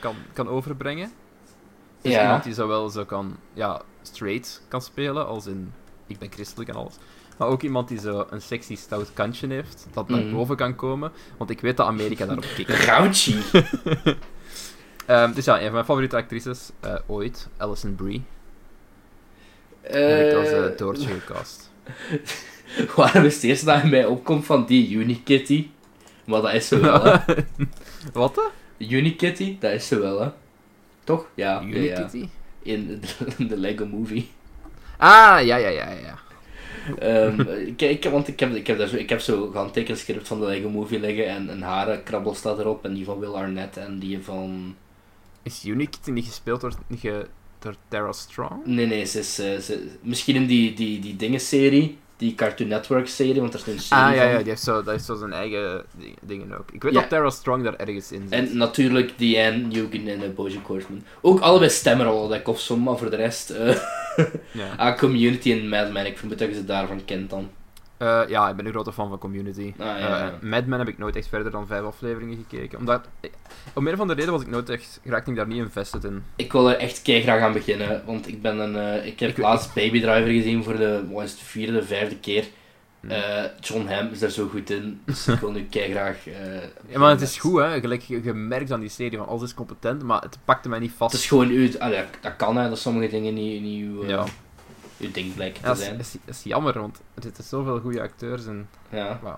kan, kan overbrengen. Dus
Ja.
iemand die zowel zo kan, ja, straight kan spelen, als in ik ben christelijk en alles. Maar ook iemand die zo een sexy stout kantje heeft, dat naar
Mhm.
boven kan komen. Want ik weet dat Amerika daarop kikt.
Grouchy.
Ehm, dus ja, een van mijn favoriete actrices eh, ooit, Alison Brie. heb ik als eh,
Eh
Doortje gecast.
waarom is het eerste dat in mij opkomt van die Unikitty? Maar dat is ze wel, hè.
Wat dan?
Unikitty, dat is ze wel, hè. Toch? Ja. ja, ja.
Unikitty?
In de, in de Lego Movie.
Ah, ja, ja, ja, ja.
Ehm, ik, ik, want ik heb, ik heb, daar zo, ik heb zo gehandtekend script van de Lego Movie liggen en een harenkrabbel staat erop en die van Will Arnett en die van...
Is Unikitty niet gespeeld door, ge- door Tara Strong?
Nee, nee, ze is... eh, ze- misschien in die, die, die dingen-serie, die Cartoon Network-serie, want er is een serie
Ah, ja,
van.
ja, die heeft zo, dat heeft zo zijn eigen di- dingen ook. Ik weet
Ja.
dat Tara Strong daar ergens in zit.
En natuurlijk Diane Newgen en eh, Bojack Horseman. Ook allebei stemrollen dat ik of som, maar voor de rest... eh
Ja.
ah, Community en Mad Men, ik vermoed dat je ze daarvan kent dan.
Eh, ja, ik ben een grote fan van Community.
Ah, ja, ja.
Eh, Mad Men heb ik nooit echt verder dan vijf afleveringen gekeken. Omdat, eh, om een van de reden was ik nooit echt, raakte ik daar niet invested in.
Ik wil er echt kei graag aan beginnen, want ik ben een... eh, ik heb
Ik-
laatst Baby Driver gezien voor de, wat is het, vierde, vijfde keer.
Hm.
Eh, John Hamm is daar zo goed in, dus ik wil nu kei graag... eh,
Ja, maar het is goed, hè. Gelijk, je, je merkt aan die serie van alles is competent, maar het pakte mij niet vast.
Het is gewoon uw... ah, ja, dat kan, hè, dat sommige dingen niet, niet uw, eh,
Ja.
uw ding blijken
Ja,
te
dat is,
zijn.
is- is jammer, want er zitten zoveel goede acteurs in.
Ja.
Wow.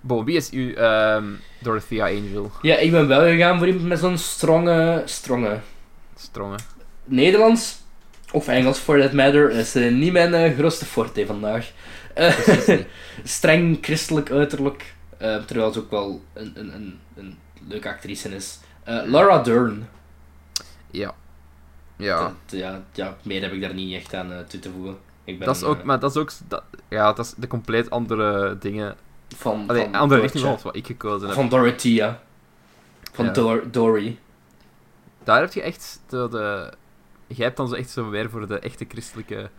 Bon, wie is u, ehm Dorothea Angel?
ja, ik ben wel gegaan voor iemand met zo'n stronge... stronge
Strongen.
Nederlands of Engels for that matter is eh, niet mijn eh, grootste forte vandaag. Eh, streng christelijk uiterlijk, eh, terwijl ze ook wel een, een, een, een leuke actrice is. Eh, Laura Dern.
Ja. Ja.
Dat- eh, ja, ja, meer heb ik daar niet echt aan eh, toe te voegen. Ik ben
Dat is ook,
eh,
maar dat is ook, dat, ja, dat is de compleet andere dingen.
van,
Allee,
van Dorotje.
andere richting van wat ik gekozen heb.
Van Dorothea. Van
Ja.
Dor- Dory.
Daar heb je echt de, de, jij hebt dan zo echt zo weer voor de echte christelijke,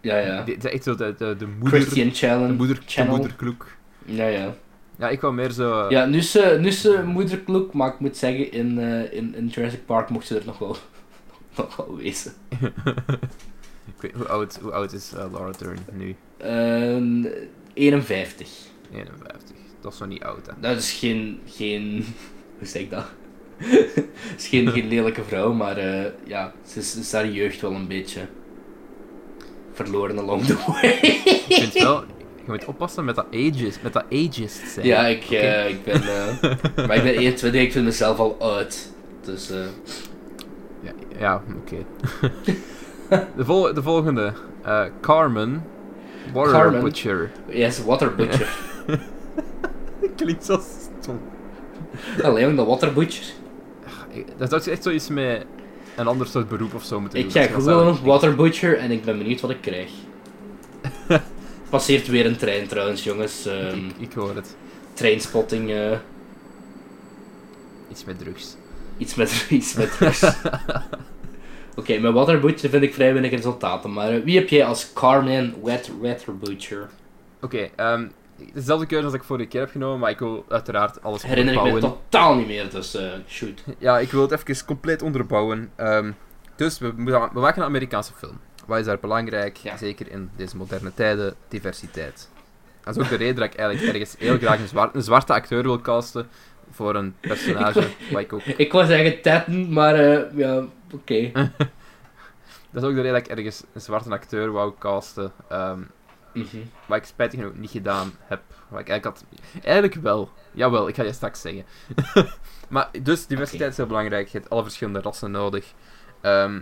Ja, ja.
de, de- echt zo de, de, de moeder,
Christian
de
Challenge.
moeder, de
Channel.
moederkloek.
Ja, ja.
Ja, ik wou meer zo, eh,
Ja, nu is ze, nu is ze moederkloek, maar ik moet zeggen, in, eh, in, in Jurassic Park mocht ze er nog wel, nog wel wezen.
ik weet, hoe oud, hoe oud is eh, Laura Dern nu?
Ehm, 51.
51. Dat is nog niet oud, hè.
Nou, Dat is geen, geen... Hoe zeg ik dat? is geen, geen lelijke vrouw, maar eh, ja, ze is, is haar jeugd wel een beetje verloren along the way.
Ik vind het wel... Je moet oppassen met dat ageist, met dat ageist zijn.
Ja, ik,
Oké.
eh, ik ben... eh, maar ik ben 21, ik vind mezelf al oud. Dus... eh,
Ja, ja, oké. de, vol- de volgende. Eh, Carmen. Water
Carmen.
Butcher.
yes, water butcher.
Klinkt zo stom.
Allee, jong, de water butcher.
Dat zou echt zoiets met een ander soort beroep of zo moeten
Ik
doen.
ga
Dat zou-
googlen op water butcher en ik ben benieuwd wat ik krijg. Passeert weer een trein trouwens, jongens. Ehm
Ik, ik hoor het.
trainspotting, eh,
Iets met drugs.
iets met, iets met drugs. Oké, met water butcher vind ik vrij weinig resultaten, maar eh, wie heb jij als Carmen Wet Water Butcher?
Oké, ehm, dezelfde keuze als ik vorige keer heb genomen, maar ik wil uiteraard alles
Herinner ik me
onderbouwen.
totaal niet meer, dus eh, shoot.
Ja,
Ik wil het even compleet onderbouwen. Ehm, dus we, moeten- we maken een Amerikaanse film. Wat is daar belangrijk?
Ja.
Zeker in deze moderne tijden, diversiteit. Dat is ook de reden dat ik eigenlijk ergens heel graag een, zwar- een zwarte acteur wil casten voor een personage. wat ik ook,
Ik was zeggen tetten, maar eh, ja, oké.
Dat is ook de reden dat ik ergens een zwarte acteur wou casten. ehm,
Mhm.
wat ik spijtig genoeg niet gedaan heb. Wat ik eigenlijk had... Eigenlijk wel. Jawel, ik ga je straks zeggen. maar dus, diversiteit is heel belangrijk. Je hebt alle verschillende rassen nodig. Ehm,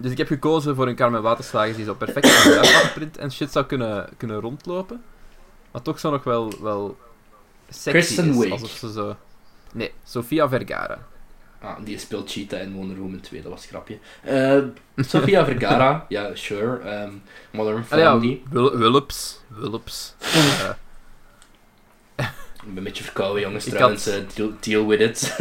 dus ik heb gekozen voor een Carmen Waterslagers die zo perfect in een luipaardprint en shit zou kunnen, kunnen rondlopen. Maar toch zo nog wel, wel sexy
Kristen
is.
Wiig.
Alsof ze zo... Nee, Sofia Vergara.
Ah, die speelt Cheetah in Wonder Woman 2, dat was een grapje. Eh, Sofia Vergara, ja, sure. ehm, Modern
Ah ja,
Family.
Wul- Wulps. Wulps. Eh,
Ik ben een beetje verkouden, jongens,
Ik
trouwens. eh, deal, deal with it.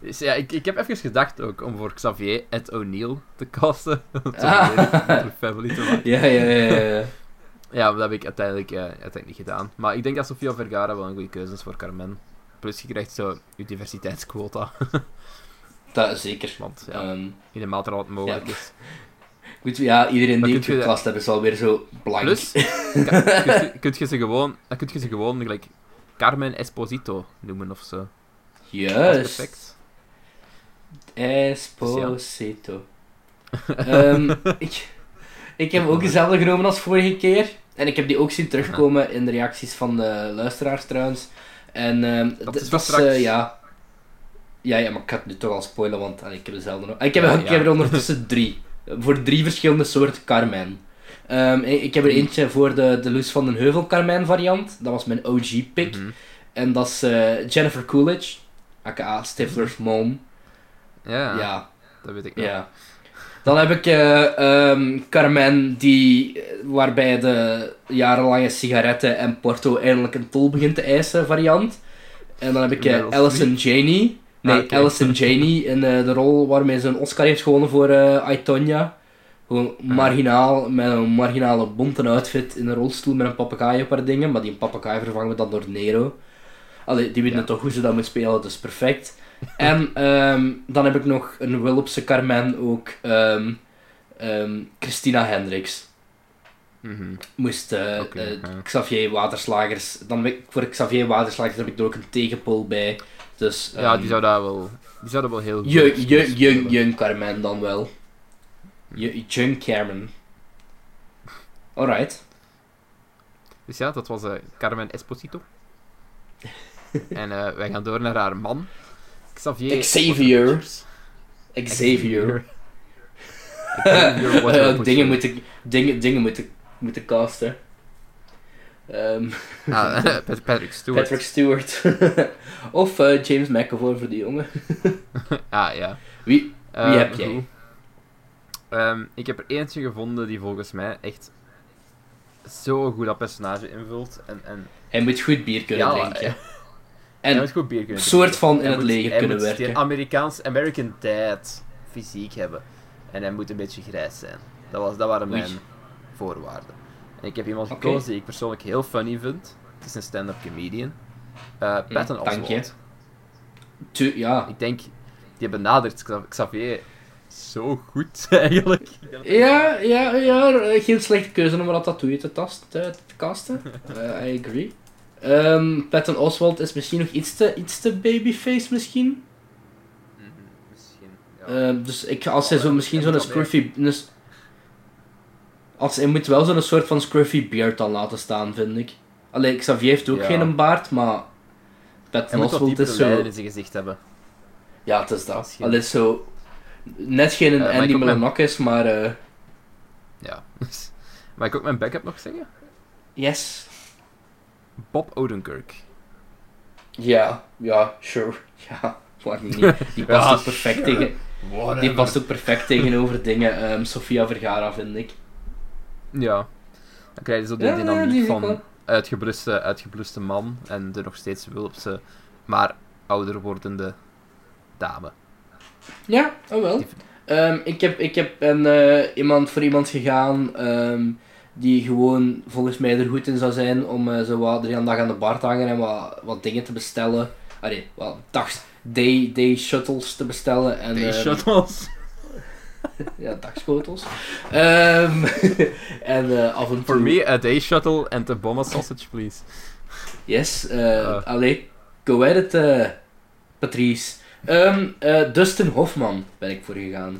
Dus ja, ik, ik heb even gedacht ook om voor Xavier et O'Neill te casten. Om te
Ah.
proberen om de family te maken.
ja, ja, ja, ja, ja.
Ja, maar dat heb ik uiteindelijk, eh, uiteindelijk niet gedaan. Maar ik denk dat Sofia Vergara wel een goede keuze is voor Carmen. Plus je krijgt zo je diversiteitsquota.
Dat zeker.
Want ja,
Ehm,
in de mate dat het mogelijk
ja.
is.
goed, ja, iedereen
Maar
die ik
kunt je-
geklast heb is alweer zo blank.
Plus, ka- kunt je- kunt je ze gewoon, dan kunt je ze gewoon gelijk Carmen Esposito noemen of zo. Dat is
Juist.
perfect.
Esposito. Ehm, ik, ik heb ook dezelfde genomen als vorige keer. En ik heb die ook zien terugkomen in de reacties van de luisteraars trouwens. En ehm,
Dat
d-
is
dat
wel
eh,
straks.
ja. Ja, ja, maar ik ga het nu toch al spoilen, want ah, ik heb dezelfde nog. Ah, Ik heb,
Ja,
ik heb
ja.
er ondertussen drie. Eh, Voor drie verschillende soorten Carmen. Ehm, ik ik heb er eentje voor de, de Loes van den Heuvel Carmen variant. Dat was mijn OG-pick.
Mhm.
En dat is eh, Jennifer Coolidge, aka Stifler's mom.
Ja,
ja.
dat weet ik nog.
Ja. Dan heb ik eh, ehm, Carmen, die, eh, waarbij de jarenlange sigaretten en porto eindelijk een tol begint te eisen variant. En dan heb ik eh,
Meryl
Allison Janney. Nee,
Ah, oké.
Allison Janney in eh, de rol waarmee ze een Oscar heeft gewonnen voor eh I, Tonya. Gewoon marginaal, met een marginale bonten outfit in een rolstoel met een papegaai op haar dingen. Maar die papegaai vervangen we dan door Nero. Allee, die weten
Ja.
toch hoe ze dat moet spelen, dus perfect. En ehm, dan heb ik nog een Wilpse Carmen ook. ehm, ehm, Christina Hendricks.
Mhm.
Moest eh,
Oké,
eh,
ja.
Xavier Waterslagers. Dan heb ik, voor Xavier Waterslagers heb ik er ook een tegenpol bij. Dus,
ja,
ehm,
die zou daar wel, die zou daar wel heel goed
Jung,
kunnen
Jung, Jung,
spelen.
Jung Carmen dan wel. Ju- Jung Carmen. Alright.
Dus ja, dat was eh, Carmen Esposito. en eh, wij gaan door naar haar man, Xavier.
Xavier. Xavier.
Xavier wordt
Eh,
ook goed
dingen
zo.
moeten, dingen, dingen moeten, moeten casten. Ehm,
Ah, Pat- Patrick Stewart.
Patrick Stewart. of eh, James McAvoy voor die jongen.
Ah ja.
Wie-
Eh,
wie heb jij?
goed. Ehm, ik heb er eentje gevonden die volgens mij echt zo goed dat personage invult. En, en
Hij moet goed bier kunnen
Ja,
drinken.
en
En
goed bier kunnen
soort van in
Hij
het
moet-
leger
hij
kunnen
moet die
werken.
Amerikaans American Dad fysiek hebben. En hij moet een beetje grijs zijn. Dat, was, dat waren
Oei.
mijn voorwaarden. En ik heb iemand
Oké.
gekozen die ik persoonlijk heel funny vind. Het is een stand-up comedian. Eh Patton
Hm, dank je.
Oswalt.
Tu- ja.
Ik denk, die benadert Xa- Xavier zo goed eigenlijk.
Ja, ja, ja, eh, geen slechte keuze om dat tattoo te, tast, te, te casten. Eh, I agree. Ehm Patton Oswald is misschien nog iets te, iets te babyface, misschien. Hm,
Mhm, Misschien. Ja.
Ehm, dus ik, als
Oh,
hij zo,
ja,
misschien
ja,
zo'n
dat kan
scruffy... Een, s- als, hij moet wel zo'n soort van scruffy beard dan laten staan, vind ik. Allee, Xavier heeft ook
Ja.
geen baard, maar...
Hij
Patton
moet wat
Eh, Oswald
diepere
is zo...
lijnen in zijn gezicht hebben.
Ja, het is
Als
dat.
je- Eh,
Allee, zo... Net geen
maar ik
Andy
ook mijn-
Millenok is, maar... eh,
Ja. Mag ik ook mijn backup nog zeggen?
yes.
Bob Odenkirk.
Ja, ja, sure. Ja, waarom niet? Die past
Ja,
ook perfect tegen... Die past ook perfect tegenover dingen. ehm Sofia Vergara, vind ik.
Ja. Dan krijg je zo de
Ja,
dynamiek
die zie ik wel.
van uitgebluste, uitgebluste man en de nog steeds wulpse, maar ouder wordende dame.
Ja, oh wel. Ehm, ik heb, ik heb een, eh, iemand voor iemand gegaan ehm, die gewoon volgens mij er goed in zou zijn om eh, zo wat drie aan de dag aan de bar te hangen en wat, wat dingen te bestellen. Allee, wat dags, day, day shuttles te bestellen. En, ehm,
shuttles.
Ja, dagschotels. Ehm, en eh, af en toe...
For me, a day shuttle and a bomba sausage, please.
Yes, eh
Ja.
allee, go at it, eh, Patrice. Ehm, eh, Dustin Hoffman ben ik voor gegaan.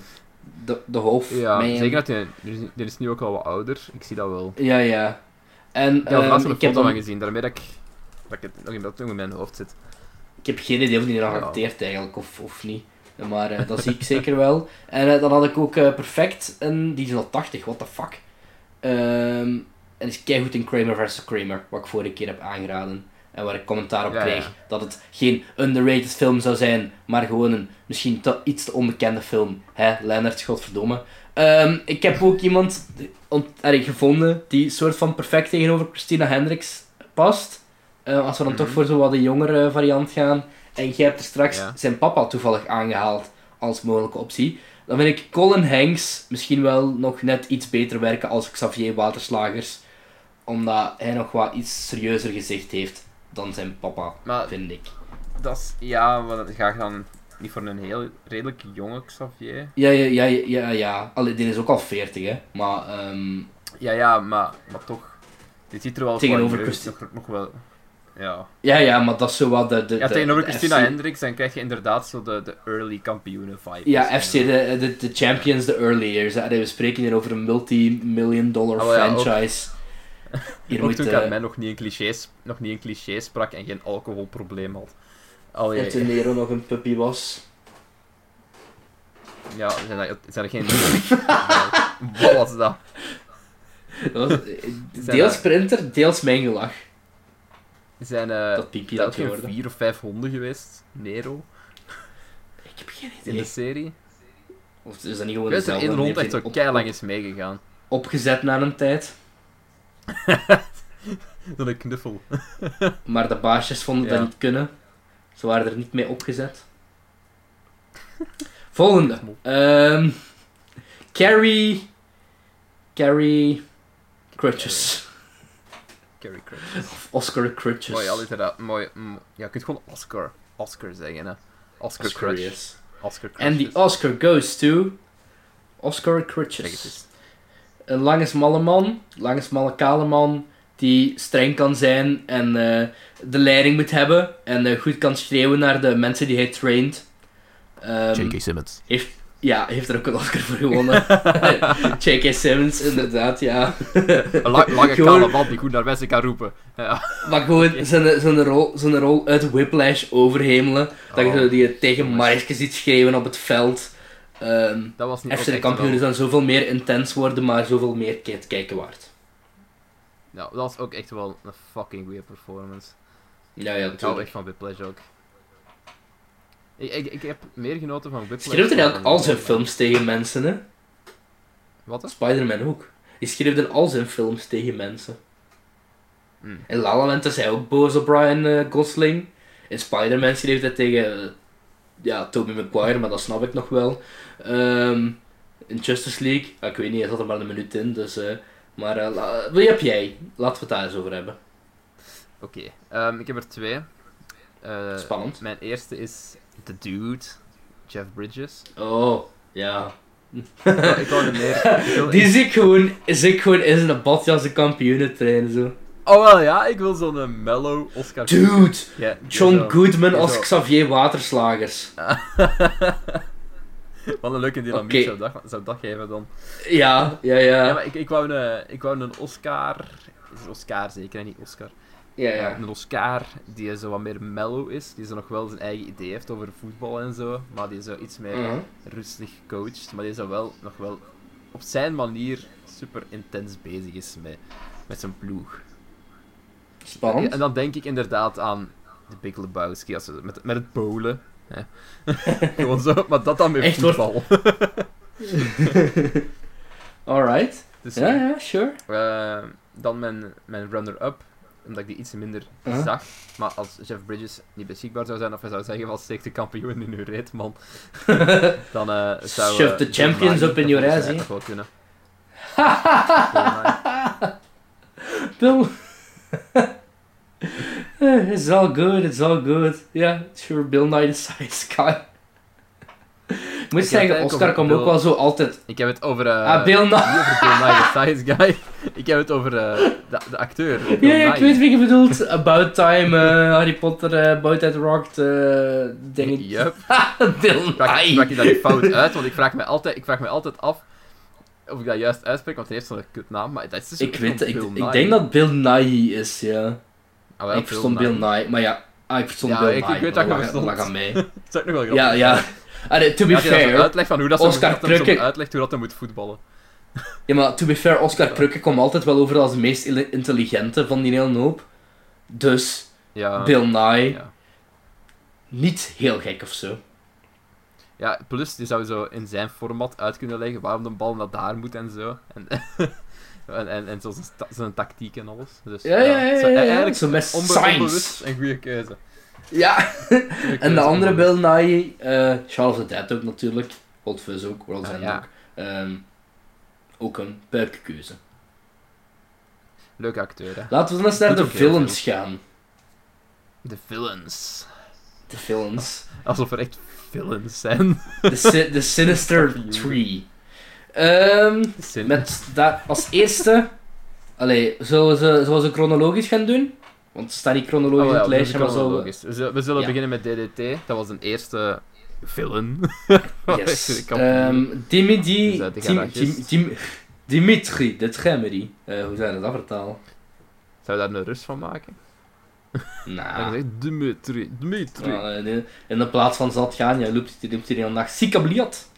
De, de hoofd.
Ja,
man.
zeker dat hij... Die is, die is nu ook al wat ouder, ik zie dat wel.
Ja, ja. En
Ik heb
ehm,
er laatst een
ik, heb
foto
dan-
van gezien, daarmee dat ik, dat ik het nog in, dat nog in mijn hoofd zit.
ik heb geen idee of die nog
Ja.
acteert eigenlijk, of, of niet. Maar eh, dat zie ik zeker wel. En eh, dan had ik ook eh, Perfect, en die is al 80, what the fuck. Ehm, en is keigoed in Kramer vs. Kramer, wat ik vorige keer heb aangeraden. En waar ik commentaar op
Ja, ja.
kreeg dat het geen underrated film zou zijn, maar gewoon een misschien te, iets te onbekende film. Hè, Leonard, godverdomme. Ehm, ik heb ook iemand ont- allee, gevonden die soort van perfect tegenover Christina Hendricks past. Eh, als we dan toch
Mhm.
voor zo wat de jongere variant gaan. En jij hebt er straks
Ja.
zijn papa toevallig aangehaald als mogelijke optie. Dan vind ik Colin Hanks misschien wel nog net iets beter werken als Xavier Waterslagers. Omdat hij nog wat iets serieuzer gezicht heeft dan zijn papa,
Maar
vind ik.
dat is... Ja, maar dat ga ik dan niet voor een heel redelijk jonge Xavier.
Ja, ja, ja, ja, ja. ja. Allee, die is ook al 40, hè. Maar, ehm,
Ja, ja, maar, maar toch. Dit ziet er wel
Tegenover
qua jeugd
Christi-
nog, nog wel. Ja.
ja, ja, maar dat is zo wat de... de
ja,
de-
tegenover
de
Christina
FC
Hendricks dan krijg je inderdaad zo de, de early kampioenen vibe. Dus, eh,
Ja, FC, de, de, de champions, de early years. hè. We spreken hier over een multi-million dollar
Oh, ja, ook-
franchise. Hier
Ook
moet
toen
eh,
ik aan mij nog niet, in clichés, nog niet in clichés sprak en geen alcoholprobleem had.
En toen
Allee,
Nero nog een puppy was.
ja, zijn, dat, zijn er geen... Wat was dat?
Dat was, eh,
Zijn
deels
dat-
printer, deels mijn gelach.
Zijn eh
Dat piepje
is
dat
dat geen
geworden.
vier of vijf honden geweest? Nero?
Ik heb geen
In de
idee.
serie?
Of is dat niet
Ik
gewoon
weet dat er
dezelfde?
één hond
Nee,
echt zo
op- op-
keilang is meegegaan.
Opgezet na een tijd.
Dat een knuffel.
Maar de baasjes vonden
Ja.
dat niet kunnen. Ze waren er niet mee opgezet. Volgende. Ehm Carrie... Carrie... Crutches.
Carrie Craig.
Of Oscar Crutches.
Mooi, al inderdaad. Mooi. mm, Ja, je kunt gewoon Oscar. Oscar zeggen, hè. Oscar
Oscar
Crutch.
yes.
Oscar Crutch.
En die Oscar goes to... Oscar Crutches.
Zeg het eens.
een lange smalle man, lange smalle kale man, die streng kan zijn en eh, de leiding moet hebben en eh, goed kan schreeuwen naar de mensen die hij traint. Ehm,
Simmons.
heeft, ja, heeft er ook een Oscar voor gewonnen. J.K. Simmons, inderdaad, ja.
Een la- lange
Gewoon-
kale man die goed naar mensen kan roepen. Ja.
Maar gewoon zijn, zijn, rol, zijn rol uit Whiplash overhemelen. Dat je
Oh,
zo die eh, tegen
jongens.
Maisje ziet schreeuwen op het veld. Ehm
Dat was niet
FC de
echt
kampioenen
wel-
zijn zoveel meer intens worden, maar zoveel meer kijk- kijken waard.
Ja, dat was ook echt wel een fucking goede performance.
Ja, ja,
Ik hou
natuurlijk.
echt van Whiplash ook. Ik, ik, ik heb meer genoten van Whiplash.
Schreeuwt hij
dan
eigenlijk al
van-
zijn films tegen mensen, hè?
Wat? hè?
Spider-Man ook. Die schreef dan al zijn films tegen mensen.
Hm.
In La La Land is hij ook boos op Brian eh, Gosling. In Spider-Man schreef hij tegen... eh, ja, Tobey Maguire, maar dat snap ik nog wel. Ehm, in Justice League... ah, ik weet niet, hij zat er maar een minuut in, dus... eh, maar eh, la- wie heb jij? Laten we het daar eens over hebben.
Oké, ehm, ik heb er twee. Eh,
Spannend.
Mijn eerste is The Dude, Jeff Bridges.
Oh, ja.
ik wou- ik wou er meer. ik wil-
Die zie ik gewoon, zie ik gewoon in zijn badjas de kampioenen trainen, zo.
Oh wel ja, ik wil zo'n eh, mellow Oscar.
Dude,
Ja,
John
ja, zo.
Goodman als
Zo.
Xavier Waterslagers.
Wat een leuke dynamiek
Oké.
zou, dat, zou dat geven dan.
Ja, ja,
Ja,
ja.
maar ik, ik, wou een, eh, ik wou een Oscar. Is het Oscar zeker, hè, niet Oscar.
Ja,
Ja,
ja.
Een Oscar die zo wat meer mellow is, die zo nog wel zijn eigen idee heeft over voetbal en zo, maar die zo iets meer
Mhm.
rustig coacht, maar die zo wel nog wel op zijn manier super intens bezig is met, met zijn ploeg. Ja,
Spannend.
en dan denk ik inderdaad aan de Big Lebowski, als we- met, met het bowlen. hè. Gewoon zo, maar dat dan met
Echt, hoor.
voetbal.
Alright.
Dus,
Ja, ja, sure.
Eh, dan mijn, mijn runner-up, omdat ik die iets minder
Uh-huh.
zag. Maar als Jeff Bridges niet beschikbaar zou zijn, of hij zou zeggen van steek de kampioen in uw reet, man. Dan eh, zou...
Shove the champions up in your ass, hè?
Dat wel kunnen.
Bill. it's all good, it's all good. Ja, sure, Bill Nye the Science Guy. Ik moet
Ik heb het
zeggen,
eigenlijk
Oscar
over
komt
Bill-
ook wel zo altijd.
Ik heb het over... eh,
ah, Bill Nye.
niet over Bill Nye, the science guy. Ik heb het over eh, de, de acteur. Bill
Ja, ja, ik
Nye.
weet wie je bedoelt. About Time, eh, Harry Potter, eh, About That Rocked, eh dingen.
Yup.
Bill
Sprak,
Nye.
sprak je dat niet fout uit? Want ik vraag me altijd, ik vraag me altijd af of ik dat juist uitspreek, want hij heeft zo'n kutnaam, maar dat is dus
Ik weet,
gewoon
ik,
Bill
ik
Nye.
denk dat Bill Nye is, ja.
Ah, wel,
ik verstond Bill Nye, maar ja, ah, ik verstond
Ja,
Bill
ik- ik
Nye.
weet dat je
lag-
verstond.
lag aan mij.
Dat is ook nog wel grappig.
ja, ja. Allee, to be
Als je dan zo
fair,
uitlegt van hoe dat ze
Oscar
dat hem zo
Krukke-
uitlegt hoe dat hij moet voetballen.
ja, maar to be fair, Oscar Krukke kwam altijd wel over als de meest ille- intelligente van die hele hoop. Dus,
Ja.
Bill Nye,
Ja.
niet heel gek of zo.
ja, plus die zou zo in zijn format uit kunnen leggen waarom de bal naar daar moet en zo. En, en, en, en zo zijn, ta- zijn tactiek en alles. Dus,
Ja, ja, ja,
zo-
ja, ja.
Eigenlijk
Zo met
onbe-
science.
onbewust een goede keuze.
Ja,
Goede
En
keuze,
de andere
onbewust.
Bill Nye, eh, Charles the Dead ook natuurlijk, Old Fuzz ook, World's
Ah,
End
ja.
ook. Ehm, ook een puikkeuze.
Leuke acteur, hè.
Laten we dan eens naar
Doet
de
ook heel
villains gaan.
De villains.
De villains.
Alsof er echt villains zijn.
De, si- de Sinister Three. Ehm,
Zin.
met daar als eerste... Allee, zullen we, ze, zullen we ze chronologisch gaan doen? Want ze staan niet chronologisch
Oh ja,
op het
we
lijstje, maar
doen
zo...
chronologisch. We zullen, we zullen
Ja.
beginnen met DDT. Dat was een eerste villain.
Yes.
Ik kan het
Ehm,
niet.
Dimidi...
Dus uit de
Dim-
garagist.
Dim- Dim- Dimitri, de Tremery. Eh, hoe zou je dat vertalen?
Zou je daar een rust van maken?
Nou...
Dan zegt Dimitri, Dimitri,
Ja, en in- in de plaats van zat gaan, ja, loopt hij loopt hij de hele dag. Sikabliat.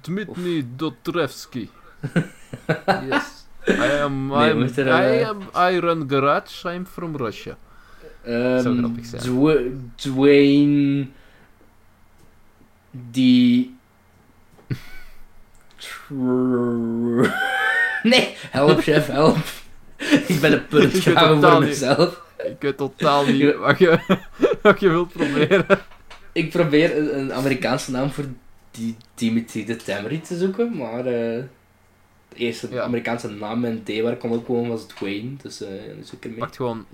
Dmitri Dotrevski. yes. I am,
Nee,
I
we
am,
moeten er,
I
eh,
am Iron Garage, I'm from Russia. Zou grappig zijn.
Ehm, Dwayne... Die... Trrr. Nee, help chef, help. Ik ben een
Ik weet
puntgraven
totaal
voor
niet.
mezelf.
Ik weet totaal niet wat je, wat je wilt proberen.
Ik probeer een, een Amerikaanse naam voor die Dimitri de Tamri te zoeken, maar... eh, de eerste
Ja.
Amerikaanse naam en D waar ik kon opkomen was Dwayne, dus eh ja, dat is ook een
Pakt gewoon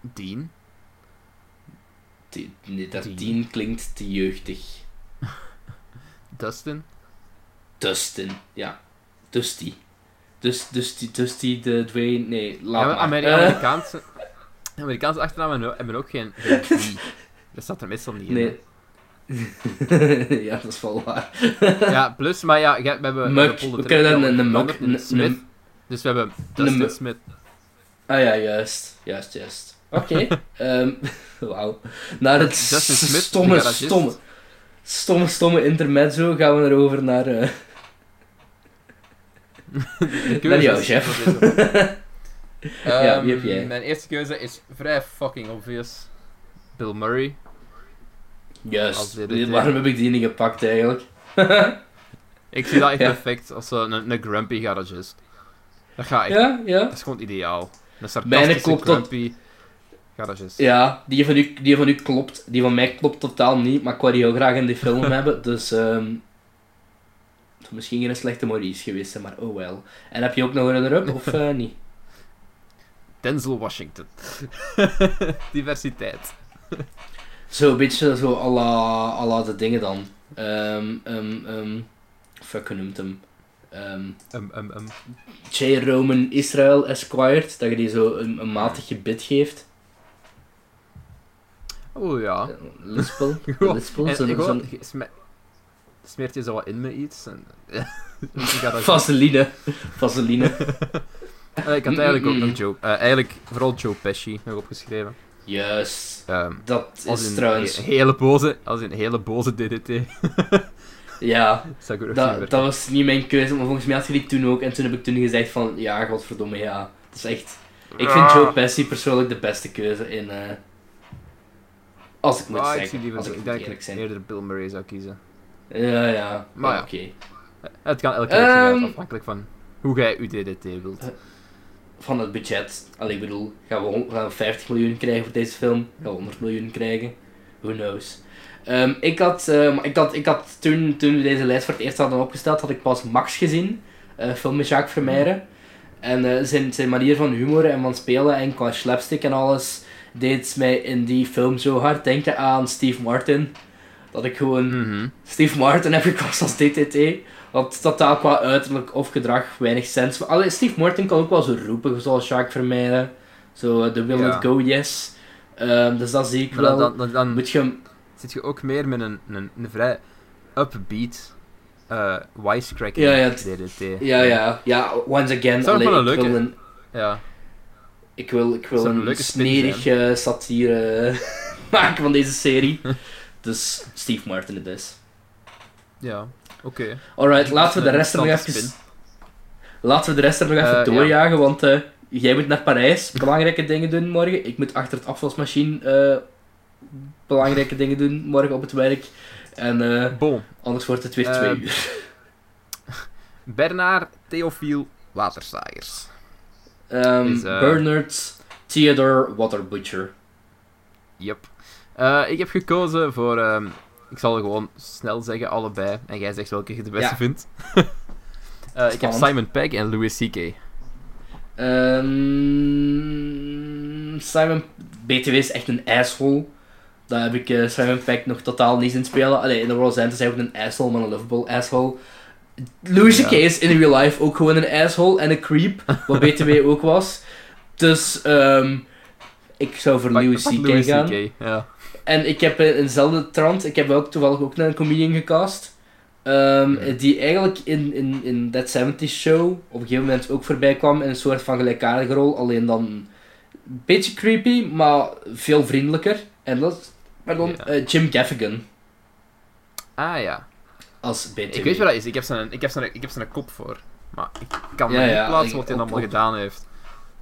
Dean.
Die- Nee, dat
Tien.
tien klinkt te jeugdig.
Dustin.
Dustin, ja. Dusty. Dus, Dusty, Dusty, de Dwayne, nee, laat
Ja, maar
maar.
Ameri-
Eh,
Amerikaanse, Amerikaanse achternamen hebben- hebben ook geen, geen I. Dat staat er meestal niet in.
nee. ja, dat is wel waar.
hè. Ja, plus, maar ja, jij- we hebben...
Muk,
Paul de
we
Trek,
kunnen dan een- een
Paul
muk,
Anderson,
een-
Smith.
een-
Dus we hebben Dustin
muk.
Smith.
Ah ja, juist. Juist, juist. Oké. ehm, Wauw. Naar het
Justin Smith, de
stomme,
garagist.
stomme, stomme, stomme intermezzo gaan we erover naar... eh,
De
Naar jou,
is-
chef.
dat is het.
Ja, wie
Ehm,
heb jij?
Mijn eerste keuze is vrij fucking obvious. Bill Murray. Als
juist.
dit het, ja.
Waarom heb ik die niet gepakt, eigenlijk?
Ik zie dat echt
Ja.
perfect als eh, een, een grumpy garagist. Dat ga ik.
Ja, ja.
Dat is gewoon ideaal. Een
Mijne
sarcastische
klopt dat-
grumpy garagist.
Ja, die van, u, die van u klopt. Die van mij klopt totaal niet, maar ik wou die heel graag in die film hebben. Dus ehm het zou misschien geen slechte Maurice geweest, zijn, maar oh wel. En heb je ook nog een runner-up of eh, niet?
Denzel Washington. Diversiteit.
Zo, een beetje zo à la, à la de dingen dan. Ehm ehm ehm fuck, hoe noemt hem? Ehm, ehm,
Um, um, um.
J. Roman Israel Esquired, dat je die zo een, een matig gebit geeft. Eh,
Oh ja.
Lispel.
Goh.
Lispel,
En
zo'n-
ik hoor-
zo'n
sme- Smeert je zo wat in me iets? En, Ik had dat-
vaseline. Vaseline.
Eh, ik had eigenlijk ook nog Joe... eh, eigenlijk vooral Joe Pesci nog opgeschreven.
Juist.
Ehm,
Dat
als
is
in
trouwens...
he- hele boze, als in hele boze DDT.
Ja,
Zou ik er ook zien
dat,
werken.
dat was niet mijn keuze, maar volgens mij had je die toen ook. En toen heb ik toen gezegd van, ja, godverdomme, ja. Dat is echt... Ik
Ah.
vind Joe Pesci persoonlijk de beste keuze in... eh, Als ik moet
Ah, ik zie
zeggen.
die wel
als ik
zo- ik
moet
denk
eerlijk
dat ik
zijn.
eerder Bill Murray zou kiezen.
Ja, ja.
Maar
Ja,
ja.
Oké.
Eh, Het kan elke keer uitgaan,
Ehm.
afhankelijk van hoe jij uw DDT wilt.
Van het budget. Allee, ik bedoel, gaan we, hon- gaan we 50 miljoen krijgen voor deze film? Gaan we 100 miljoen krijgen? Who knows. Ehm, ik had, ehm, ik had, ik had toen, toen we deze lijst voor het eerst hadden opgesteld, had ik pas Max gezien. eh film met Jacques Vermeijren. En eh, zijn, zijn manier van humor en van spelen en qua slapstick en alles deed mij in die film zo hard denken aan Steve Martin. Dat ik gewoon
Mhm.
Steve Martin heb gekost als DTT. Want totaal qua uiterlijk of gedrag weinig sens. Maar allee, Steve Martin kan ook wel zo roepen, zoals Jacques vermijden. Zo, eh, de will
Ja.
not go, yes. Ehm, dus dat zie ik
Maar
wel.
dan, dan, dan, dan
Moet je hem...
zit je ook meer met een, een, een vrij upbeat eh wisecracking
Ja, ja, het-
DDT.
Ja, ja. Ja, once again.
Zou ook
allee,
wel een
ik wil
leuke-
een,
Ja.
ik wil, ik wil
Zou een
een,
leuke spin
smerige satire eh, maken van deze serie. dus Steve Martin het is.
Ja, oké.
Alright, laten we de
Een
rest er nog
interessante
even... Laten we de rest er nog even
Eh, ja.
doorjagen, want eh, jij moet naar Parijs belangrijke dingen doen morgen. Ik moet achter het afwasmachine eh, belangrijke dingen doen morgen op het werk. En eh,
Bon.
anders wordt het weer
Eh,
twee uur.
Bernard Theofiel Watersaaiers.
Ehm,
is, eh,
Bernard Theodore Water Butcher.
Yep. Eh, ik heb gekozen voor... ehm, ik zal gewoon snel zeggen, allebei. En jij zegt welke je de beste
Ja.
vindt. Eh, ik heb
Spannend.
Simon Pegg en Louis C.K.
Ehm, Simon... BTW is echt een asshole. Daar heb ik eh, Simon Peck nog totaal niet in spelen. Allee, in The World's End is hij ook een asshole, maar een lovable asshole. Louis C.K.
Ja.
is in real life ook gewoon een asshole en een creep, wat BTW ook was. Dus ehm, ik zou voor
Pak-
Louis
pak
C.K. gaan.
CK, Ja.
En ik heb in eenzelfde trant, ik heb ook toevallig ook een comedian gecast. ehm,
Ja.
Die eigenlijk in, in, in That 70 Show op een gegeven moment ook voorbij kwam in een soort van gelijkaardige rol. Alleen dan een beetje creepy, maar veel vriendelijker. En dat is, pardon,
Ja.
eh, Jim Gaffigan
Ah ja.
als BTW.
Ik weet wat dat is. Ik heb zijn, ik heb zijn, ik heb zijn kop voor. Maar ik kan
Ja,
me niet
ja,
plaatsen
ik-
wat hij
op-
allemaal
op-
gedaan heeft.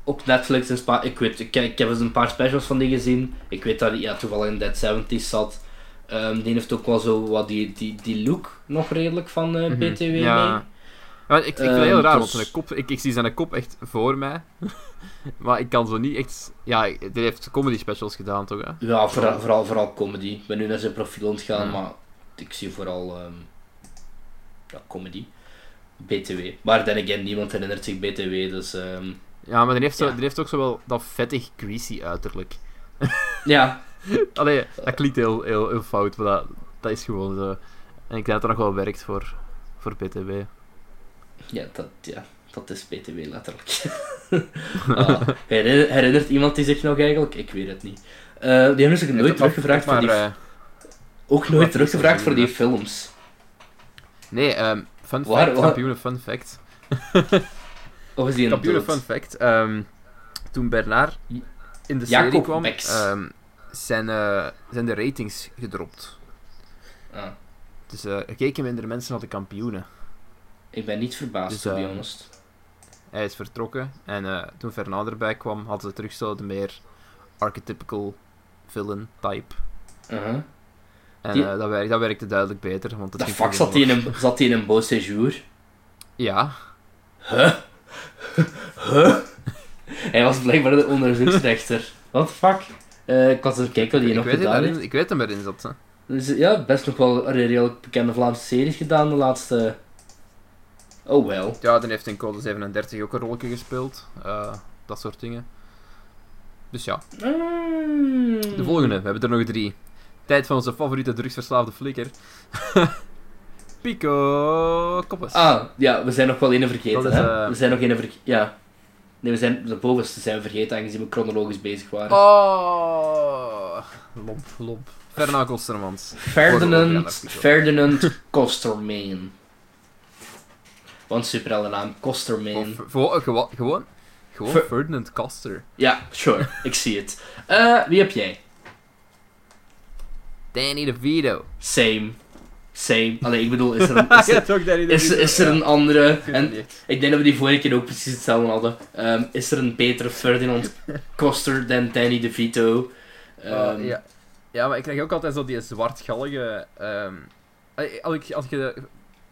Op Netflix en spa... Ik weet, ik, ik heb eens een paar specials van die gezien. Ik weet dat hij ja, toevallig in That 70 zat. Ehm, die heeft ook wel zo wat die, die, die look nog redelijk van eh,
Mhm.
BTW
Ja.
mee.
Ja, ik, ik vind het
Ehm,
heel raar, want
dus-
zijn kop, ik, ik zie zijn kop echt voor mij. maar ik kan zo niet echt... Ja, hij heeft comedy specials gedaan, toch? Hè?
Ja, vooral, vooral, vooral comedy. Ik ben nu naar zijn profiel aan het gaan,
Ja.
maar ik zie vooral ehm, ja, comedy. BTW. Maar dan again, niemand herinnert zich BTW, dus... ehm,
Ja, maar die heeft, zo,
Ja.
die heeft ook zo wel dat vettig, greasy uiterlijk.
ja,
Allee, dat klinkt heel, heel, heel fout, maar dat, dat is gewoon zo. En ik denk dat dat nog wel werkt voor, voor PTB.
ja, dat, ja, dat is BTW letterlijk. Ah, herinner- herinnert iemand die zich nog eigenlijk? Ik weet het niet. Eh, die hebben zich
Ik
nooit
heb
teruggevraagd
ook maar,
voor die...
eh,
Ook
maar-
nooit teruggevraagd voor die films.
nee, ehm, fun fact,
Waar- waar-
kampioenen fun fact.
Of is die een
Kampioenen
dood?
fun fact. ehm, toen Bernard in de
Jacob
serie kwam,
Beks.
ehm, zijn, eh, zijn de ratings gedropt.
Ah,
Dus eh, er keken minder mensen naar de kampioenen.
ik ben niet verbaasd,
Dus,
to be
eh,
honest.
Hij is vertrokken en eh, toen Fernand erbij kwam, hadden ze terug zo de meer archetypical villain type.
Uh-huh.
En
Die-
eh, dat, werkt, dat werkte duidelijk beter. Want dat
Dat
ging
fuck
gewoon
zat hij in een, zat die in een beau séjour.
wel- Ja.
Hij was blijkbaar de onderzoeksrechter. What the fuck? Eh, ik was aan het kijken wat
Ik,
hij nog
weet hem
gedaan
daarin-
heeft.
ik weet hem erin zat. Hè.
Dus eh, ja, best nog wel een redelijk bekende Vlaamse series gedaan de laatste... Oh wel.
Ja, dan heeft hij in Code 37 ook een rolletje gespeeld. Eh, dat soort dingen. Dus ja,
Mm.
de volgende. We hebben er nog drie. Tijd van onze favoriete drugsverslaafde flikker.
Pico Koppes.
Ah, ja, we zijn nog wel één vergeten.
Dat is,
hè?
eh,
We zijn nog één vergeten. Ja. Nee, we zijn de bovenste zijn we vergeten, aangezien we chronologisch bezig waren.
Oh.
Lomp, lomp. Fernand Kostermans. Voor de
Ferdinand,
overgang,
Ferdinand Costermain. Want superhelde naam, Costermain.
Of voor- gewo- gewoon, gewoon
Fer-
Ferdinand Koster.
Ja, sure, ik zie het. Eh, wie heb jij?
Danny DeVito.
Same. Same. Allee, ik bedoel, is er een, is er,
ook Danny
is, is er een andere? En
En...
ik denk dat we die vorige keer ook precies hetzelfde hadden. Ehm, is er een betere Ferdinand Coster dan Danny DeVito? Ehm,
ja.
Oh, Ja, maar ik krijg ook altijd zo die zwartgallige... ehm, eh, als, ik, als je de-